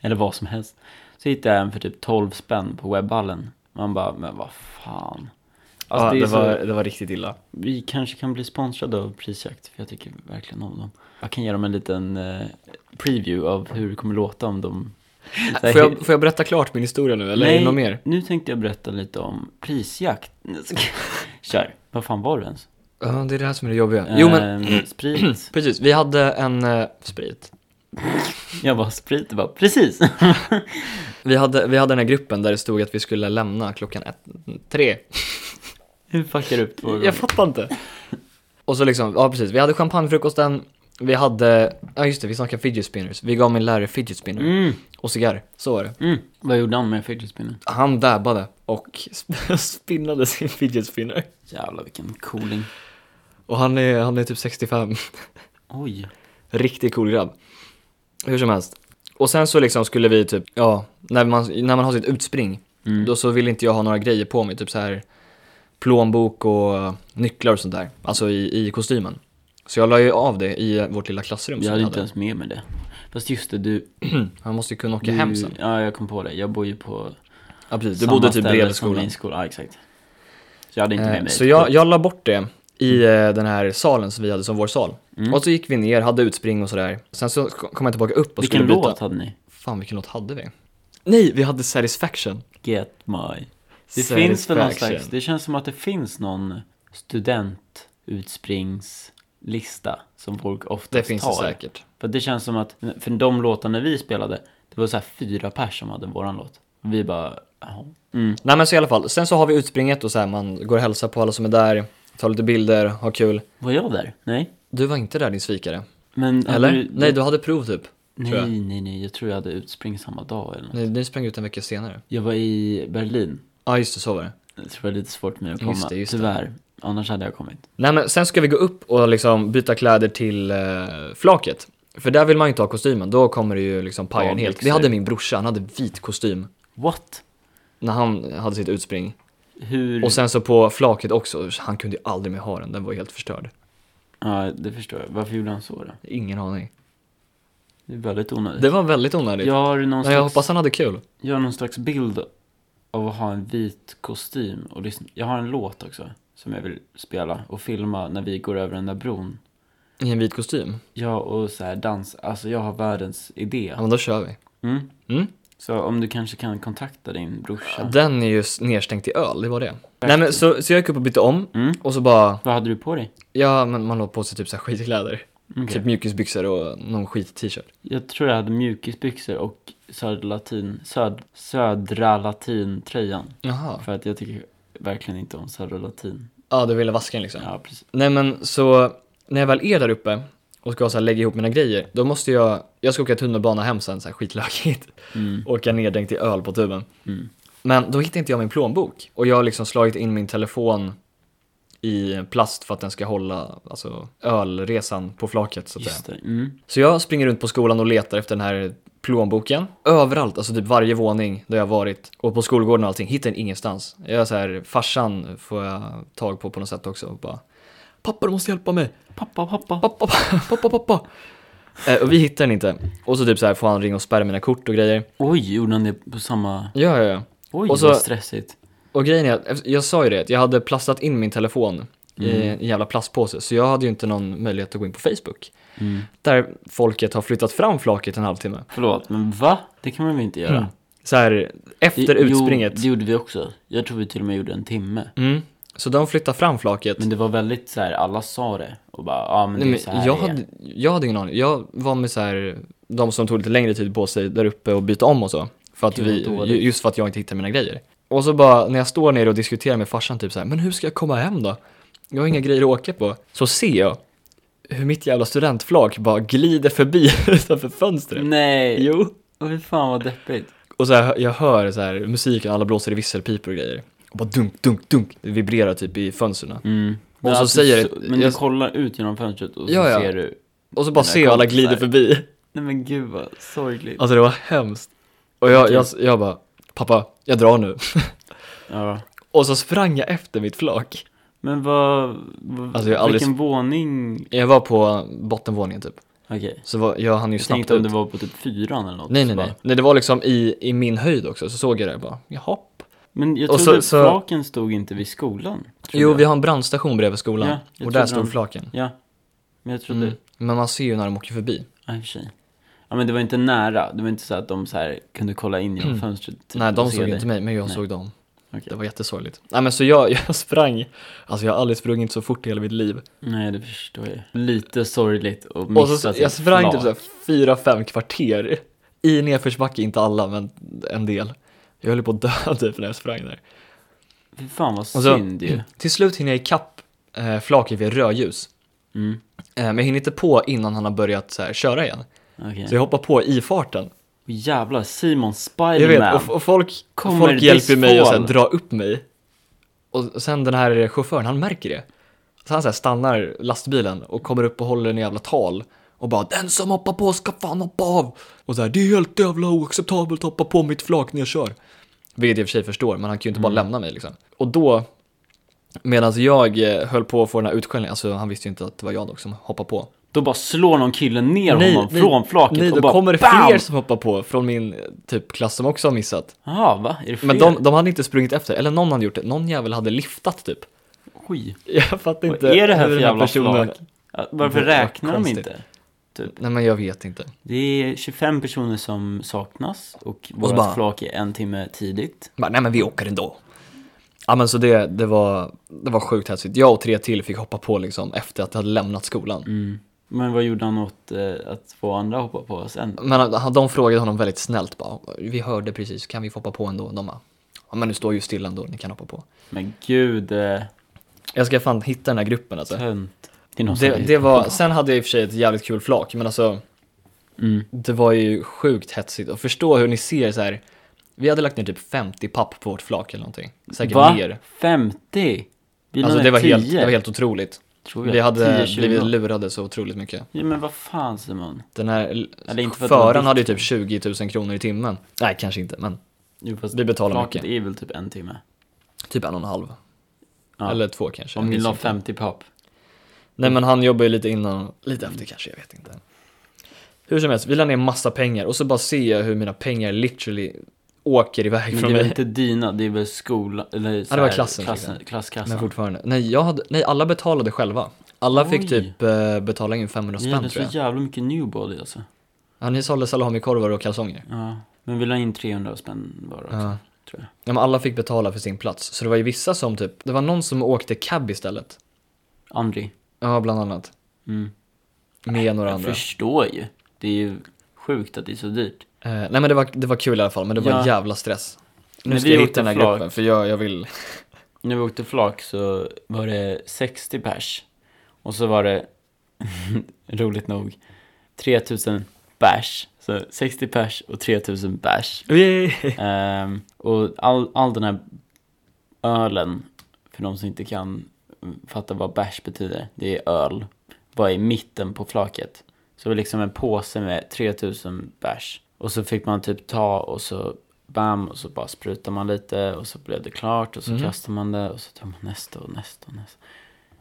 S1: Eller vad som helst. Så hittade jag en för typ 12 spänn på webbhallen. Man bara, men vad fan. Alltså,
S2: ja,
S1: det
S2: det,
S1: är så-
S2: var, det var riktigt illa.
S1: Vi kanske kan bli sponsrade av Prisjakt, för jag tycker verkligen om dem. Jag kan ge dem en liten eh, preview av hur det kommer låta om de...
S2: Får jag, får jag berätta klart min historia nu, eller är det något mer?
S1: nu tänkte jag berätta lite om prisjakt. Nej, ska- Kör, vad fan var det ens?
S2: Ja, det är det här som är det jobbiga. Jo men,
S1: Ehm, sprit.
S2: precis. Vi hade en eh, sprit.
S1: Jag bara, sprit, bara, precis.
S2: Vi hade, vi hade den här gruppen där det stod att vi skulle lämna klockan ett, tre.
S1: Hur fuckar du upp två gånger?
S2: Jag fattar inte. Och så liksom, ja precis, vi hade champagnefrukosten, vi hade, ja just det, vi snackade fidget spinners. Vi gav min lärare fidget spinner
S1: Mm,
S2: och cigarr, så var det.
S1: mm. Vad gjorde han med fidget spinner?
S2: Han dabbade och sp- spinnade sin fidget spinner.
S1: Jävlar vilken cooling.
S2: Och han är, han är typ 65,
S1: Oj.
S2: riktigt cool grabb. Hur som helst. Och sen så liksom skulle vi typ, ja, när man, när man har sitt utspring,
S1: Mm.
S2: Då så ville inte jag ha några grejer på mig, typ så här plånbok och nycklar och sånt där. Alltså i, i kostymen. Så jag la ju av det i vårt lilla klassrum
S1: jag
S2: som vi
S1: hade inte
S2: hade.
S1: ens med mig det. Fast just det, du...
S2: Han måste ju kunna åka
S1: du
S2: hem sen.
S1: Ja, jag kom på det. Jag bor ju på
S2: Ja precis, du bodde typ
S1: ställe
S2: bredvid
S1: som
S2: skolan.
S1: Min skola. Ja, exakt. Så jag hade inte med
S2: Eh,
S1: mig
S2: Så
S1: det.
S2: jag, jag la bort det i eh, den här salen som vi hade som vår sal.
S1: Mm.
S2: Och så gick vi ner, hade utspring och sådär. Sen så kom jag tillbaka upp och
S1: Vilken
S2: skulle byta.
S1: låt hade ni?
S2: Fan vilken låt hade vi? Nej, vi hade Satisfaction.
S1: Get my... Det finns väl någon slags, det känns som att det finns någon studentutspringslista som folk oftast
S2: Det finns det
S1: tar.
S2: säkert.
S1: För det känns som att, för de låtarna vi spelade, det var så här fyra pers som hade våran låt. Vi bara, jaha. Mm.
S2: Nej men så i alla fall, sen så har vi utspringet och så här, man går och hälsar på alla som är där, tar lite bilder, har kul.
S1: Var jag där? Nej.
S2: Du var inte där din svikare.
S1: Men hade
S2: Eller?
S1: Du,
S2: Nej, du hade prov typ.
S1: nej,
S2: tror jag.
S1: nej, nej, jag tror jag hade utspring samma dag eller något.
S2: Nej, du sprang ut en vecka senare.
S1: Jag var i Berlin.
S2: Ja, just det, så var det.
S1: Jag tror det var lite svårt för mig att komma,
S2: Just det, just det.
S1: tyvärr. Annars hade jag kommit.
S2: Nej men sen ska vi gå upp och liksom byta kläder till eh, flaket. För där vill man ju inte ha kostymen, då kommer det ju liksom paja en helt.
S1: Avbyxor.
S2: Det hade min brorsa, han hade vit kostym
S1: What?
S2: när han hade sitt utspring.
S1: Hur?
S2: Och sen så på flaket också, han kunde ju aldrig mer ha den, den var ju helt förstörd.
S1: Ja, det förstår jag. Varför gjorde han så då?
S2: Ingen aning.
S1: Det är väldigt onödigt.
S2: Det var väldigt onödigt.
S1: Jag har någon
S2: Men jag
S1: slags
S2: hoppas han hade kul.
S1: Jag har någon slags bild av att ha en vit kostym och lyssna. Jag har en låt också som jag vill spela och filma när vi går över den där bron.
S2: I en vit kostym.
S1: Jag och så här dans, alltså jag har världens idé.
S2: Ja men då kör vi.
S1: Mm.
S2: Mm.
S1: Så om du kanske kan kontakta din brorsa.
S2: Den är ju s- nerstänkt i öl, det var det. Nej men så, så jag gick upp och bytte om
S1: Mm.
S2: och så bara,
S1: Vad hade du på dig?
S2: ja men man la på sig typ så här skitkläder.
S1: Okej.
S2: Typ mjukisbyxor och någon skit-t-shirt.
S1: Jag tror jag hade mjukisbyxor och södra latin, söd, södra latin tröjan.
S2: Jaha.
S1: För att jag tycker verkligen inte om södra latin.
S2: Ja, du ville vaska den liksom.
S1: Ja, precis.
S2: Nej men så, när jag väl är där uppe och ska så här lägga ihop mina grejer, då måste jag, jag ska åka tunnelbana hem sen så här skitlökigt.
S1: Mm.
S2: Åka neddränkt i öl på tuben.
S1: Mm.
S2: Men då hittade inte jag min plånbok och jag har liksom slagit in min telefon i plast för att den ska hålla alltså, ölresan på flaket så att säga.
S1: Just det. Mm.
S2: Så jag springer runt på skolan och letar efter den här plånboken. Överallt, alltså typ varje våning där jag varit. Och på skolgården och allting, hittar den ingenstans. Jag är så här, farsan får jag tag på på något sätt också och bara Pappa du måste hjälpa mig!
S1: Pappa, pappa.
S2: Pappa, pappa, pappa, pappa! Eh, och vi hittar den inte. Och så typ så här får han ringa och spärra mina kort och grejer.
S1: Oj, gjorde han det på samma...
S2: Ja, ja, ja.
S1: Oj,
S2: Och så-
S1: vad stressigt.
S2: Och grejen är, att, efter- jag sa ju det, att jag hade plastat in min telefon i en jävla plastpåse. Så jag hade ju inte någon möjlighet att gå in på Facebook.
S1: Mm.
S2: Där folket har flyttat fram flaket en halvtimme.
S1: Förlåt, men va? Det kan man väl inte göra?
S2: Mm. Så här, efter
S1: Jo,
S2: utspringet.
S1: det gjorde vi också. Jag tror vi till och med gjorde en timme.
S2: Mm. Så de flyttar fram flaket.
S1: Men det var väldigt så här, alla sa det. Och bara, ja ah, men det är
S2: Nej,
S1: så
S2: men
S1: här
S2: jag,
S1: det är.
S2: hade, jag hade ingen aning. Jag var med så här, de som tog lite längre tid på sig där uppe och byta om och så. För att
S1: Gud,
S2: vi,
S1: vad dåligt.
S2: ju- just för att jag inte hittade mina grejer. Och så bara när jag står nere och diskuterar med farsan typ så här, men hur ska jag komma hem då? Jag har inga grejer att åka på. Så ser jag hur mitt jävla studentflak bara glider förbi utanför fönstret.
S1: Mm. Nej,
S2: Jo.
S1: och fy fan vad deppigt.
S2: Och så här, jag hör så här musiken, alla blåser i visselpipor och grejer. Och bara dunk, dunk, dunk. Det vibrerar typ i fönstren.
S1: Mm. Men
S2: Och så
S1: att du
S2: säger
S1: så-
S2: det-
S1: Men du
S2: jag-
S1: kollar ut genom fönstret och så
S2: Ja, ja.
S1: ser du.
S2: Och så bara
S1: Mina
S2: ser jag alla
S1: kompisar.
S2: glider förbi.
S1: Nej men gud vad sorgligt.
S2: Alltså det var hemskt. Typ. Och jag, jag, jag bara, pappa, jag drar nu.
S1: Ja.
S2: Och så sprang jag efter mitt flak.
S1: Men vad, vad
S2: Alltså, jag har aldrig-
S1: vilken våning?
S2: Jag var på bottenvåningen typ.
S1: Okej.
S2: Så var, jag hann ju
S1: Jag
S2: snabbt
S1: tänkte om
S2: ut.
S1: det var på typ fyran eller något.
S2: Nej,
S1: så
S2: nej,
S1: bara-
S2: nej. Nej, det var liksom i, i min höjd också. Så såg jag det bara, jaha.
S1: Men jag
S2: Och
S1: trodde
S2: så-
S1: att
S2: så-
S1: flaken stod inte vid skolan. trodde
S2: Jo,
S1: jag.
S2: vi har en brandstation bredvid skolan.
S1: Ja, jag
S2: och
S1: trodde
S2: där
S1: de-
S2: stod flaken.
S1: Ja, men jag trodde... Typ,
S2: Mm. Men man ser ju när de åker förbi.
S1: Ja, i och för sig. Ja, men det var inte nära. Det var inte så att de så här kunde kolla in genom fönstret. typ,
S2: Mm. nej, de
S1: och se
S2: såg ju
S1: dig.
S2: inte mig, men jag
S1: Nej.
S2: såg dem.
S1: Okej.
S2: Det var jättesorgligt. Nej, men så jag, jag sprang. Alltså jag har aldrig sprungit så fort i hela mitt liv.
S1: Nej, det förstår jag. Lite sorgligt att
S2: Och
S1: missa
S2: så,
S1: sitt
S2: jag sprang typ
S1: flak.
S2: såhär fyra, fem kvarter i nedförsbacke, inte alla men en del. Jag höll på att dö typ när jag sprang där.
S1: Fy fan vad
S2: Och så-
S1: synd ju.
S2: Till slut hinner jag ikapp eh, flaket vid rödljus.
S1: Mm.
S2: Eh, men jag hinner inte på innan han har börjat så här, köra igen.
S1: Okej.
S2: Så jag hoppar på i farten.
S1: Och Jävlar, Simon
S2: Jag
S1: Spiderman.
S2: vet, och, och folk,
S1: Kommer
S2: folk
S1: this
S2: hjälper mig och så här,
S1: fall?
S2: drar upp mig. Och, och sen den här chauffören, han märker det. Så han så här, stannar lastbilen och kommer upp och håller en jävla tal. Och bara den som hoppar på ska fan hoppa av. Och så här, det är helt jävla oacceptabelt att hoppa på mitt flak när jag kör. Vilket jag i och för sig förstår, men han kan ju inte bara
S1: Mm.
S2: lämna mig liksom. Och då, medan jag eh, höll på att få den här utskällningen, alltså han visste ju inte att det var jag dock som hoppade på.
S1: Då bara slår någon kille ner honom från flaket
S2: nej,
S1: och
S2: då
S1: bara
S2: kommer det
S1: BAM!
S2: fler som hoppar på från min eh, typ klass som också har missat.
S1: Jaha, va? Är det fler?
S2: Men de, de hade inte sprungit efter, eller någon hade gjort det. Någon jävel hade liftat typ.
S1: Oj.
S2: Jag fattar
S1: Vad
S2: inte
S1: är det här
S2: hur
S1: för
S2: den
S1: jävla
S2: personen-
S1: flak? Ja, Varför
S2: Vad
S1: räknar de
S2: konstigt.
S1: inte?
S2: Nej men jag vet inte.
S1: Det är 25 personer som saknas och
S2: så
S1: vårt
S2: bara-
S1: flak är en timme tidigt.
S2: Bara, nej men vi åker ändå. Ja men så det, det, var, det var sjukt hetsigt. Jag och tre till fick hoppa på liksom efter att jag hade lämnat skolan.
S1: Mm. Men vad gjorde han åt eh, att få andra hoppa på sen?
S2: Men han- han- de frågade honom väldigt snällt bara, vi hörde precis, kan vi få hoppa på ändå? De bara, ja men du står ju stilla ändå, ni kan hoppa på.
S1: Men gud, eh,
S2: Jag ska fan hitta den här gruppen alltså.
S1: tönt. Det är någon
S2: Det,
S1: som-
S2: det var, sen hade jag i och för sig ett jävligt kul flak, men alltså
S1: Mm.
S2: det var ju sjukt hetsigt. Och förstå hur ni ser så här. vi hade lagt ner typ 50 papp på vårt flak eller någonting. Säkert
S1: Va?
S2: mer.
S1: 50? Bilen
S2: Alltså
S1: är
S2: det var,
S1: 10,
S2: helt, det var helt otroligt.
S1: tror jag.
S2: Vi hade
S1: 10,
S2: blivit
S1: 20.
S2: lurade så otroligt mycket.
S1: Ja, men vad fan Simon?
S2: Den här
S1: Eller inte för att det var
S2: föraren
S1: ditt.
S2: hade ju typ 20 000 kronor i timmen. Nej, kanske inte, men
S1: Jo, fast
S2: vi betalade
S1: flaket
S2: mycket.
S1: är väl typ en timme?
S2: Typ en och en halv.
S1: Ja.
S2: Eller två kanske.
S1: Om ni
S2: minns
S1: la
S2: inte.
S1: 50 papp.
S2: Nej men han jobbar ju lite innan, lite efter kanske, jag vet inte. Hur som helst, vi la ner massa pengar och så bara ser jag hur mina pengar literally åker iväg
S1: Men det
S2: från
S1: är väl
S2: mig.
S1: inte dina, det är väl skolan, eller så
S2: det var
S1: här,
S2: klassen, tycker
S1: Klasskassan.
S2: Men fortfarande. Nej, jag hade, nej, alla betalade själva. Alla
S1: Oj.
S2: fick typ eh, betala in 500
S1: Ni
S2: spänn
S1: hade så
S2: tror jag.
S1: jävla mycket newbody alltså.
S2: Ja, ni sålde salamikorvar och kalsonger.
S1: Ja. Men vi la in 300 spänn var också,
S2: Ja.
S1: tror jag.
S2: Ja, men alla fick betala för sin plats. Så det var ju vissa som typ, det var någon som åkte cab istället.
S1: Andri.
S2: Ja, bland annat.
S1: Mm.
S2: Med några
S1: Jag
S2: andra.
S1: förstår ju. Det är ju sjukt att det är så dyrt.
S2: Eh, nej men det var, det var kul i alla fall, men det var
S1: Ja.
S2: jävla stress. Nu
S1: Men
S2: ska
S1: vi
S2: jag
S1: åkte
S2: hitta den här
S1: flak.
S2: gruppen, för jag, jag vill...
S1: När vi åkte flak så var det 60 pers. Och så var det, roligt nog, 3000 bärs. Så 60 pers och 3000 bärs. Ehm, och all, all den här ölen, för de som inte kan fatta vad bärs betyder, det är öl, var i mitten på flaket. Så det var liksom en påse med 3000 bärs. Och så fick man typ ta och så bam och så bara sprutar man lite och så blev det klart och så
S2: Mm.
S1: kastar man det och så tar man nästa och nästa och nästa.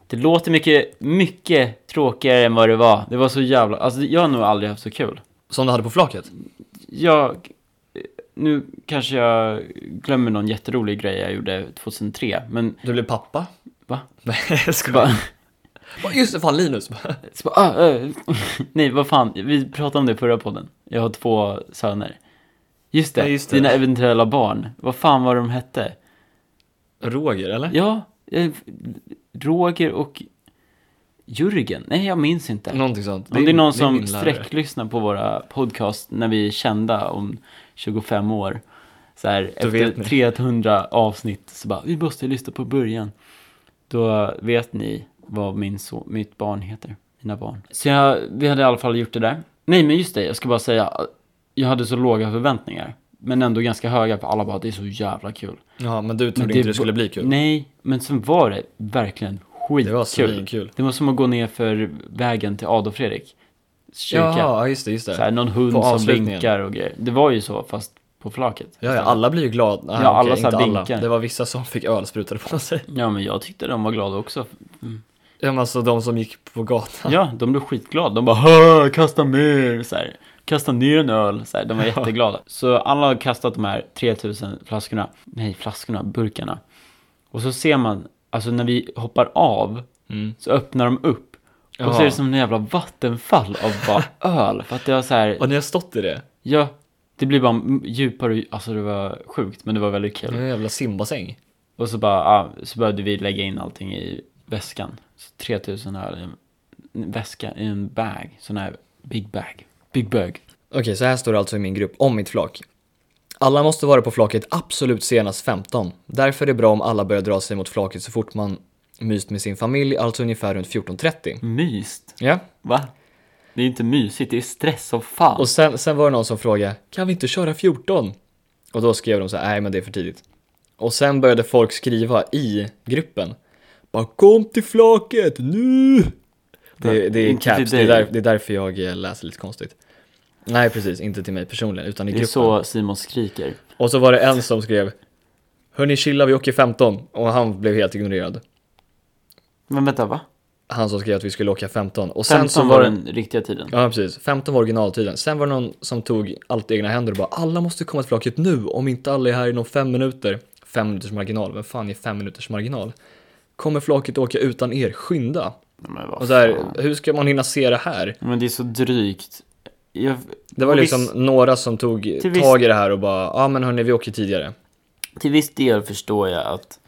S1: Det låter mycket, mycket tråkigare än vad det var. Det var så jävla, alltså jag har nog aldrig haft så kul
S2: Som du hade på flaket?
S1: jag, nu kanske jag glömmer någon jätterolig grej jag gjorde 2003, men
S2: Du blev pappa?
S1: Va?
S2: Nej, jag skojar.
S1: bara,
S2: Bara, Just det, fan Linus.
S1: så bara ah, eh, nej vad fan, vi pratade om det i förra podden. Jag har två söner. Just det,
S2: Ja, just det.
S1: dina eventuella barn. Vad fan var de hette?
S2: Roger, eller?
S1: Ja, eh, Roger och Jürgen. Nej, jag minns inte.
S2: Någonting sånt.
S1: Om det är någon
S2: min
S1: som
S2: lärare.
S1: sträcklyssnar på våra podcast när vi är kända om 25 år, så här,
S2: vet ni.
S1: efter 300 avsnitt, så bara vi måste lyssna på början. Då vet ni vad min so- mitt barn heter, mina barn. Så jag, vi hade i alla fall gjort det där. Nej, men just det, jag ska bara säga, jag hade så låga förväntningar, men ändå ganska höga, för alla bara det är så jävla kul.
S2: Ja, men du
S1: Men
S2: trodde inte
S1: var-
S2: det skulle bli kul.
S1: Nej, men sen var det verkligen skitkul.
S2: det var svinkul.
S1: Det var som att gå ner för vägen till Adolf Fredrik. Kyrka.
S2: Jaha, just det, just
S1: så här,
S2: det.
S1: någon hund
S2: På
S1: som
S2: avslutningen.
S1: vinkar och grejer. Det var ju så, fast på flaket.
S2: Ja, ja, alla blir ju glada. Nej,
S1: Ja,
S2: okej,
S1: alla så här
S2: inte alla.
S1: vinkar.
S2: Det var vissa som fick öl sprutade på sig.
S1: Ja, men jag tyckte de var glada också.
S2: Ja, men alltså de som gick på gatan.
S1: Ja, de blev skitglada. De bara "Hö, kasta mer! Så här, kasta ner en öl! Så här, de var jätteglada. Så alla har kastat de här 3000 flaskorna. Nej, flaskorna, burkarna. Och så ser man, alltså när vi hoppar av
S2: Mm.
S1: så öppnar de upp. Och så
S2: Jaha.
S1: är det som en jävla vattenfall av bara öl. För att det var så här,
S2: Och ni har stått i det?
S1: ja, det blir bara m- djupare, och dju- alltså det var sjukt men det var väldigt
S2: Det
S1: kul.
S2: var en jävla simbassäng.
S1: Och så bara, ja, så började vi lägga in allting i väskan. Så 3000 öl i en en väska, i en bag, sån här big bag, big bag.
S2: Okej, så här står det alltså i min grupp om mitt flak. Alla måste vara på flaket absolut senast 15. Därför är det bra om alla börjar dra sig mot flaket så fort man myst med sin familj, alltså ungefär runt 14.30.
S1: Myst?
S2: Ja,
S1: Va? Det är inte mysigt, det är stress som fan.
S2: och sen, sen var det någon som frågade, kan vi inte köra 14? Och då skrev de så här, nej men det är för tidigt. Och sen började folk skriva i gruppen, bara kom till flaket nu! Det, det är
S1: Inte till
S2: caps, det
S1: dig.
S2: är, där, det är därför jag eh, läser lite konstigt. Nej precis, inte till mig personligen utan i
S1: det är
S2: gruppen.
S1: så Simon skriker.
S2: Och så var det en som skrev Hörni chilla vi åker 15 och han blev helt ignorerad
S1: Men vänta, va?
S2: Han som skrev att vi skulle åka 15 och sen
S1: 15
S2: så
S1: var
S2: var det
S1: den riktiga tiden.
S2: Ja precis, 15 var originaltiden Sen var det någon som tog allt i egna händer och bara Alla måste komma till flaket nu om inte alla är här inom 5 minuter 5 minuters marginal, vem fan är 5 minuters marginal? Kommer flaket åka utan er, skynda!
S1: Nej, Men, vad
S2: Och så här,
S1: fan.
S2: hur ska man hinna se det här?
S1: men det är så drygt. Jag,
S2: Det var
S1: Och
S2: liksom
S1: visst-
S2: några som tog
S1: Till viss-
S2: tag i det här och bara Ja men hörni vi åker tidigare
S1: Till viss del förstår jag att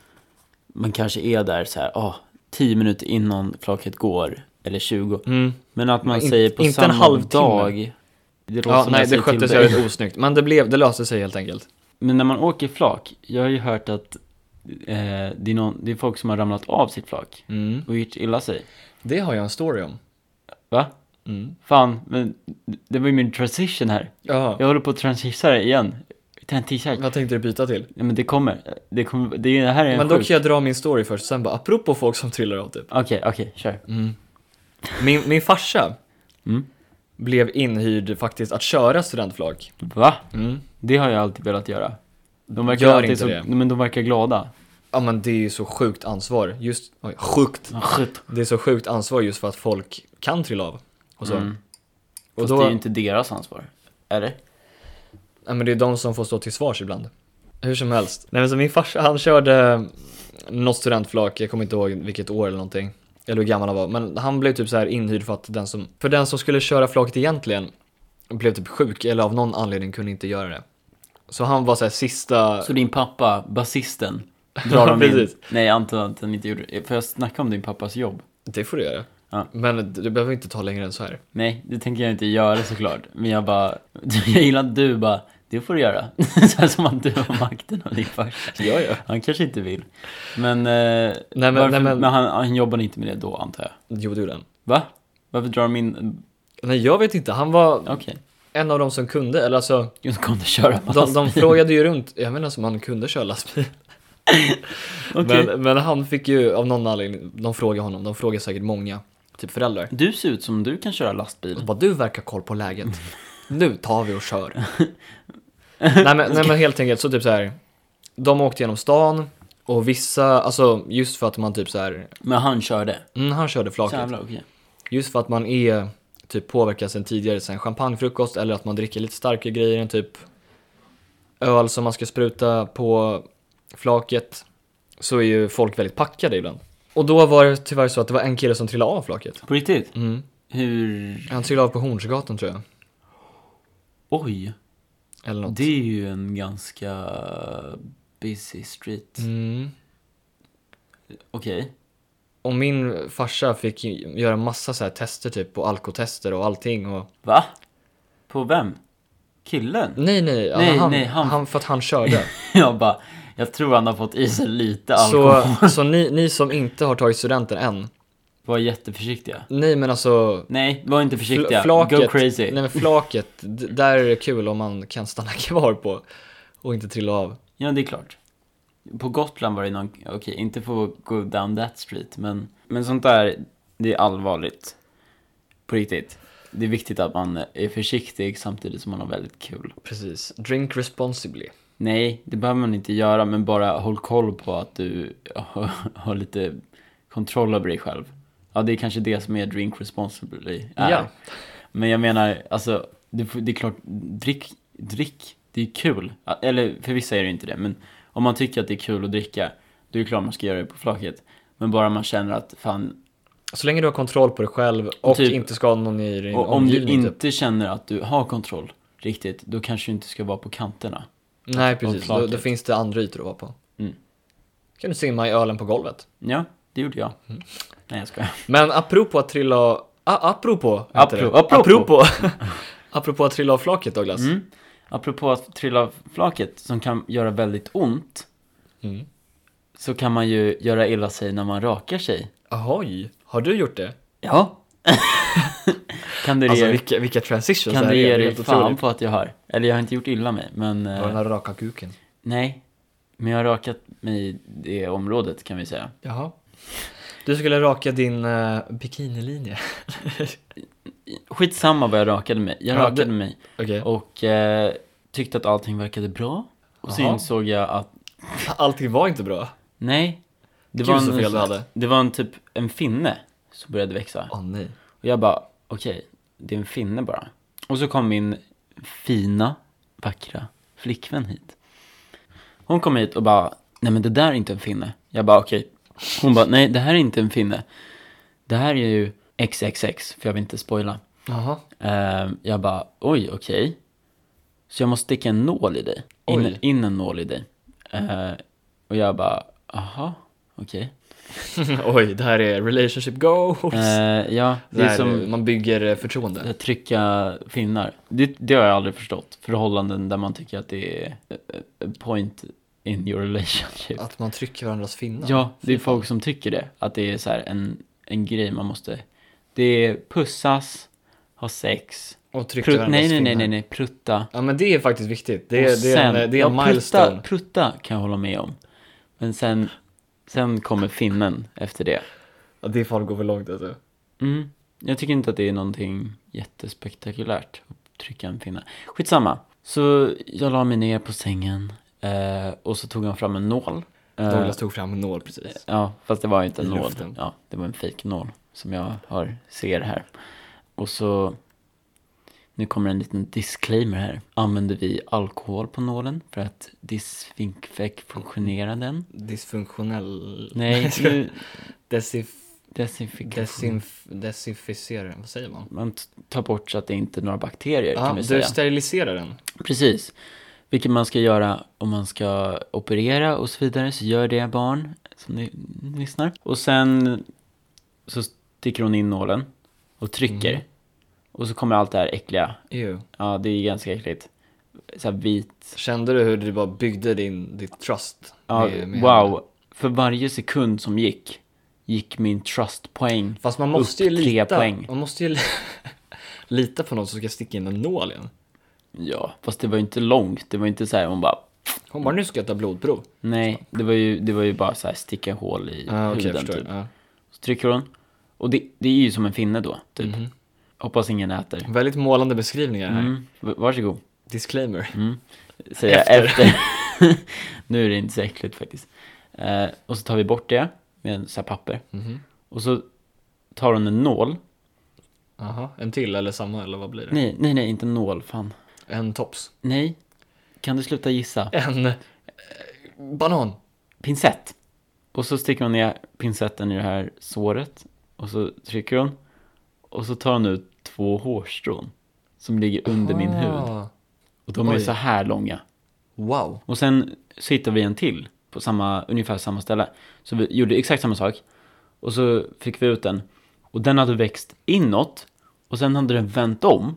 S1: man kanske är där så här, ah, 10 minuter innan flaket går, eller 20.
S2: Mm.
S1: Men att man
S2: In-
S1: säger på
S2: inte en
S1: samma
S2: halvtimme.
S1: dag. Det låter
S2: Ja,
S1: som
S2: nej,
S1: jag
S2: det
S1: säger till
S2: sköttes
S1: dig.
S2: jävligt osnyggt. Men det, blev, det löste sig helt enkelt.
S1: Men när man åker flak, jag har ju hört att eh, det, är någon, det är folk som har ramlat av sitt flak
S2: Mm.
S1: och gjort illa sig.
S2: Det har jag en story om.
S1: Va?
S2: Mm.
S1: Fan, men det var ju min transition här.
S2: Jaha.
S1: Jag håller på att transishera igen. Ta en t-shirt.
S2: Vad tänkte du byta till?
S1: Nej men det kommer. Det, kommer, det, är- det här är en
S2: Men då
S1: sjuk-
S2: kan jag dra min story först, sen bara apropå folk som trillar av typ.
S1: Okej, okej, kör.
S2: Min, min farsa
S1: Mm.
S2: blev inhyrd faktiskt att köra studentflak.
S1: Va?
S2: Mm.
S1: Det har jag alltid velat göra. De verkar
S2: Gör
S1: alltid
S2: inte
S1: så,
S2: det.
S1: Men de verkar glada.
S2: Ja men det är ju så sjukt ansvar. Just, oj, sjukt.
S1: Skit.
S2: Det är så sjukt ansvar just för att folk kan trilla av. Och så.
S1: Mm.
S2: Och
S1: Fast
S2: då,
S1: det är
S2: det
S1: ju inte deras ansvar. Eller?
S2: nej, men det är de som får stå till svars ibland. Hur som helst. Nej men så min farsa, han körde mm, något studentflak, jag kommer inte ihåg vilket år eller någonting. Eller hur gammal han var. Men han blev typ så här inhyrd för att den som, för den som skulle köra flaket egentligen blev typ sjuk eller av någon anledning kunde inte göra det. Så han var så här sista...
S1: Så din pappa, basisten, drar dem in?
S2: Precis.
S1: Nej, jag antar att han inte gjorde det. Får jag snacka om din pappas jobb?
S2: Det får du göra.
S1: Ja.
S2: Men du behöver inte ta längre än så här.
S1: Nej, det tänker jag inte göra såklart. Men jag bara, jag gillar att du bara, det får du göra. Så här som att du har makten av din farsa.
S2: Ja, ja.
S1: Han kanske inte vill. Men, eh,
S2: men-
S1: varför,
S2: nej, men-
S1: men... han, han jobbade inte med det då antar jag.
S2: Jo, det gjorde han.
S1: Va? Varför drar de in,
S2: Nej, jag vet inte. Han var
S1: okej.
S2: en av de som kunde, eller alltså,
S1: Okay. Kom du köra på
S2: de, de
S1: lastbil?
S2: frågade ju runt. Jag menar som han kunde köra lastbil.
S1: Okej.
S2: Men, men han fick ju av någon anledning, de frågade honom, de frågade säkert många, typ föräldrar.
S1: Du ser ut som du kan köra lastbil.
S2: De bara, du verkar koll på läget. Nu tar vi och kör. nej, men, nej men helt enkelt så typ så här. De åkte genom stan och vissa, alltså just för att man typ så här,
S1: Men han körde.
S2: mm, han körde flaket.
S1: Jävlar, okej.
S2: Just för att man är typ påverkad sen tidigare, sen champagnefrukost eller att man dricker lite starkare grejer än typ öl som man ska spruta på flaket så är ju folk väldigt packade ibland. Och då var det tyvärr så att det var en kille som trillade av flaket.
S1: På riktigt?
S2: Mm.
S1: Hur?
S2: Han trillade av på Hornsgatan tror jag.
S1: Oj.
S2: Eller något.
S1: Det är ju en ganska busy street.
S2: Mm.
S1: Okej.
S2: Och min farsa fick ju göra massa så här tester typ på alkotester och allting och...
S1: Va? På vem? Killen?
S2: Nej nej, ja,
S1: Nej,
S2: han,
S1: nej, han-
S2: han... För att han körde.
S1: Jag bara, jag tror han har fått i sig lite alkohol.
S2: så så ni, ni som inte har tagit studenten än.
S1: Var jätteförsiktiga.
S2: Nej men alltså,
S1: Nej, var inte försiktiga.
S2: Fl- flaket,
S1: Go crazy.
S2: Nej men flaket, d- där är det kul om man kan stanna kvar på och inte trilla av.
S1: Ja, det är klart. På Gotland var det någon, okej, inte få go down that street, men, men sånt där, det är allvarligt. På riktigt. Det är viktigt att man är försiktig samtidigt som man har väldigt kul.
S2: Precis. Drink responsibly.
S1: Nej, det behöver man inte göra, men bara håll koll på att du har, har lite kontroll över dig själv. Ja, det är kanske det som är drink responsibly. Är.
S2: Ja.
S1: Men jag menar, alltså, det, får- det är klart, drick, drick, det är kul. Ja, Eller för vissa är det inte det, men om man tycker att det är kul att dricka, då är det klart man ska göra det på flaket. Men bara man känner att fan,
S2: Så länge du har kontroll på dig själv och
S1: Typ-
S2: inte skadar någon i din
S1: och om du
S2: omgivning. typ.
S1: inte känner att du har kontroll riktigt, då kanske du inte ska vara på kanterna.
S2: typ. Nej
S1: om
S2: precis, då,
S1: flaket.
S2: då finns det andra ytor att vara på.
S1: Mm.
S2: kan du simma i ölen på golvet.
S1: Ja, det gjorde jag.
S2: Mm.
S1: Nej, jag skojar.
S2: Men apropå att trilla av... Ah, apropå! heter det.
S1: Apro- apropå.
S2: apropå! apropå att trilla av flaket Douglas.
S1: Mm. Apropå att trilla av flaket, som kan göra väldigt ont,
S2: Mm.
S1: så kan man ju göra illa sig när man rakar sig.
S2: Ahoj, har du gjort det?
S1: Ja. kan du
S2: Alltså
S1: re-
S2: vilka, vilka transitions
S1: kan
S2: det
S1: du
S2: här
S1: ge
S2: är, det är
S1: dig
S2: helt
S1: fan
S2: otroligt.
S1: på att jag har. Eller jag har inte gjort illa mig, men...
S2: Det var den
S1: Eh,
S2: här raka kuken.
S1: nej. Men jag har rakat mig i det området kan vi säga.
S2: Jaha. Du skulle raka din uh, bikinilinje.
S1: Skitsamma vad jag rakade mig. Jag
S2: Ja,
S1: rakade
S2: det-
S1: mig
S2: Okej.
S1: och eh, tyckte att allting verkade bra. Och så
S2: Jaha.
S1: insåg jag att,
S2: Allting var inte bra.
S1: nej. Det
S2: Gud, så fel du hade.
S1: det var en typ en finne som började växa.
S2: Åh nej.
S1: Och jag bara, okej, det är en finne bara. Och så kom min fina, vackra flickvän hit. Hon kom hit och bara, nej men det där är inte en finne. Jag bara, okej. Hon bara, nej det här är inte en finne. Det här är ju XXX, för jag vill inte spoila.
S2: Jaha.
S1: Eh, jag bara, oj, okej. Så jag måste sticka en nål i dig. Ehm, In,
S2: Oj.
S1: in en nål i dig. Eh, och jag bara, aha, okej. Okej.
S2: Oj, det här är relationship goals.
S1: Eh, ja, det
S2: det
S1: är som
S2: man bygger eh, förtroende.
S1: att trycka finnar. Det, det har jag aldrig förstått. Förhållanden där man tycker att det är eh, eh, point in your relationship.
S2: Att man trycker varandras finnar.
S1: Ja, det är folk som tycker det. Att det är så här en, en grej man måste... Det är pussas, ha sex,
S2: Och trycker
S1: prut,
S2: varandras
S1: nej, nej,
S2: finnar.
S1: nej, nej, nej, prutta.
S2: Ja men det är faktiskt viktigt. Det
S1: Och
S2: är, det är en, det är en
S1: ja,
S2: milestone.
S1: Prutta, prutta kan jag hålla med om. Men sen, sen kommer finnen efter det.
S2: Ja, det fan går för långt alltså.
S1: Mm. Jag tycker inte att det är någonting jättespektakulärt att trycka en pinne. Skitsamma. Så jag la mig ner på sängen eh, och så tog han fram en nål. Eh,
S2: Douglas tog fram en nål precis.
S1: Ja, fast det var ju inte en
S2: I
S1: nål.
S2: luften.
S1: Ja, det var en fejknål som jag har, ser här. Och så, nu kommer en liten disclaimer här. Använder vi alkohol på nålen för att disfinkfunktionera den?
S2: Dysfunktionell...
S1: Nej, nu,
S2: Desinf...
S1: desinfikation.
S2: Desinf... Desinficera den, vad säger man?
S1: Man t- tar bort så att det inte är några bakterier
S2: Ja,
S1: eh, kan vi
S2: du
S1: säga.
S2: steriliserar den.
S1: Precis. Vilket man ska göra om man ska operera och så vidare. Så gör det barn som ni ni lyssnar. Och sen så sticker hon in nålen och trycker.
S2: Mm.
S1: Och så kommer allt det här äckliga.
S2: Ew.
S1: Ja, det är ganska äckligt. Så här vit.
S2: Kände du hur du bara byggde din, ditt trust?
S1: Ja,
S2: med- med henne?
S1: wow. För varje sekund som gick, gick min trustpoäng.
S2: Fast man måste ju
S1: Upp tre
S2: lita...
S1: poäng.
S2: Man måste ju li- lita på någon som ska sticka in en nål igen.
S1: Ja, fast det var ju inte långt. Det var ju inte så här, hon bara,
S2: Hon bara, nu ska jag ta blodprov.
S1: nej. Det var ju, det var ju bara så här sticka hål i
S2: Ja, Ah, okej, jag
S1: huden
S2: förstår.
S1: typ.
S2: Ja.
S1: Så trycker hon. Och det, det är ju som en finne då, typ.
S2: Mhm.
S1: Hoppas ingen äter.
S2: Väldigt målande beskrivningar här.
S1: Mm. v- Varsågod,
S2: Disclaimer.
S1: säger jag efter. nu är det inte så äckligt faktiskt. Eh, och så tar vi bort det med en sån här papper.
S2: Mhm.
S1: Och så tar hon en nål.
S2: Aha, en till eller samma eller vad blir det?
S1: Nej, nej, nej, inte en nål, fan.
S2: En tops.
S1: Nej, kan du sluta gissa?
S2: En eh, banan.
S1: Pinsett. Och så sticker hon ner pinsetten i det här såret. Och så trycker hon. Och så tar hon ut två hårstrån. Som ligger under min hud.
S2: Ah,
S1: Och de är
S2: Oj.
S1: så här långa.
S2: Wow.
S1: Och sen så hittade vi en till på samma, ungefär samma ställe. Så vi gjorde exakt samma sak. Och så fick vi ut den. Och den hade växt inåt. Och sen hade den vänt om.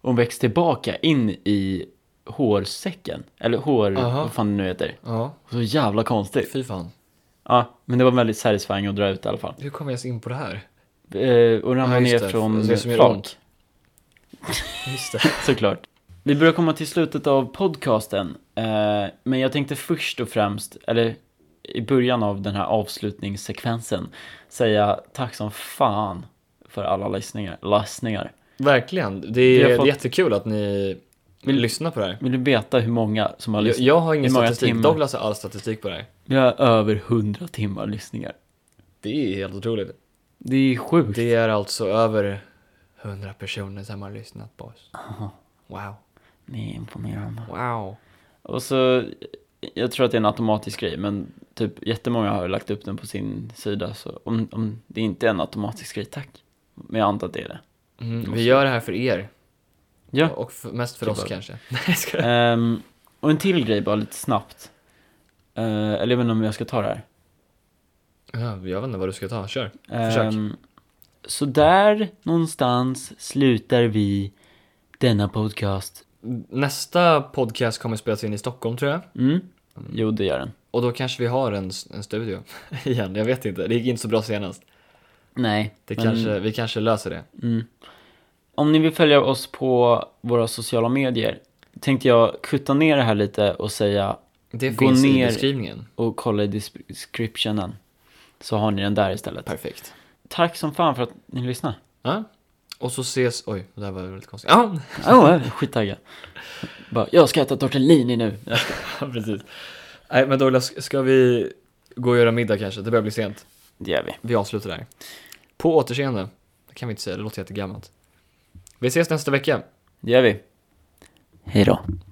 S1: Och växt tillbaka in i hårsäcken. Eller hår,
S2: Aha.
S1: vad fan det nu heter.
S2: Ja,
S1: Och så jävla konstigt.
S2: fy fan.
S1: Ja, men det var väldigt satisfying att dra ut i alla fall.
S2: Hur kom jag ens in på det här?
S1: Eh, och ramla
S2: Ja, just
S1: ner
S2: det.
S1: från
S2: Det som gör
S1: flak.
S2: ont. Just det.
S1: Såklart. Vi börjar komma till slutet av podcasten. Eh, men jag tänkte först och främst, eller i början av den här avslutningssekvensen, säga tack som fan för alla lyssningar. lyssningar.
S2: Verkligen. Det
S1: Vi har
S2: är
S1: fått-
S2: jättekul att ni vill lyssna på det här.
S1: Vill du veta hur många som har
S2: Jag,
S1: lyssnat?
S2: jag har ingen
S1: Hur många
S2: statistik.
S1: timmar?
S2: Douglas har all statistik på det här.
S1: Vi har över 100 timmar lyssningar.
S2: Det är helt otroligt.
S1: Det är sjukt.
S2: Det är alltså över 100 personer som har lyssnat på oss. Wow.
S1: Ni är imponerande.
S2: Wow.
S1: Och så, jag tror att det är en automatisk grej, men typ jättemånga har lagt upp den på sin sida. Så om, om det inte är en automatisk grej, tack. Men jag antar att det är det.
S2: Mm, vi gör det här för er.
S1: Ja.
S2: Och för, mest för
S1: Typ
S2: oss
S1: bara-
S2: kanske. Nej, jag skojar.
S1: Ehm, och en till grej bara lite snabbt. Eh, eller jag vet inte om jag ska ta det här.
S2: Ja, jag vet inte vad du ska ta. Kör. Försök.
S1: Ehm, så där någonstans slutar vi denna podcast.
S2: Nästa podcast kommer spelas in i Stockholm tror jag.
S1: Mm. Jo, det gör den.
S2: Och då kanske vi har en, en studio igen, jag vet inte. Det gick inte så bra senast.
S1: Nej.
S2: Det
S1: men-
S2: kanske, vi kanske löser det.
S1: Mm. Om ni vill följa oss på våra sociala medier tänkte jag kutta ner det här lite och säga
S2: Det
S1: Gå
S2: finns
S1: ner-
S2: i beskrivningen.
S1: och kolla i dis- descriptionen. Så har ni den där istället.
S2: Perfekt.
S1: Tack som fan för att ni lyssnade.
S2: Ja. Och så ses, oj, det där var väldigt konstigt. Ja,
S1: Åh, jag är skittaggad. Bara, jag ska äta tortellini nu.
S2: precis. Nej, men Douglas, ska vi gå och göra middag kanske? Det börjar bli sent.
S1: Det gör vi.
S2: Vi avslutar där. På återseende. Det kan vi inte säga, det låter jättegammalt. Vi ses nästa vecka.
S1: Det gör vi. Hej då.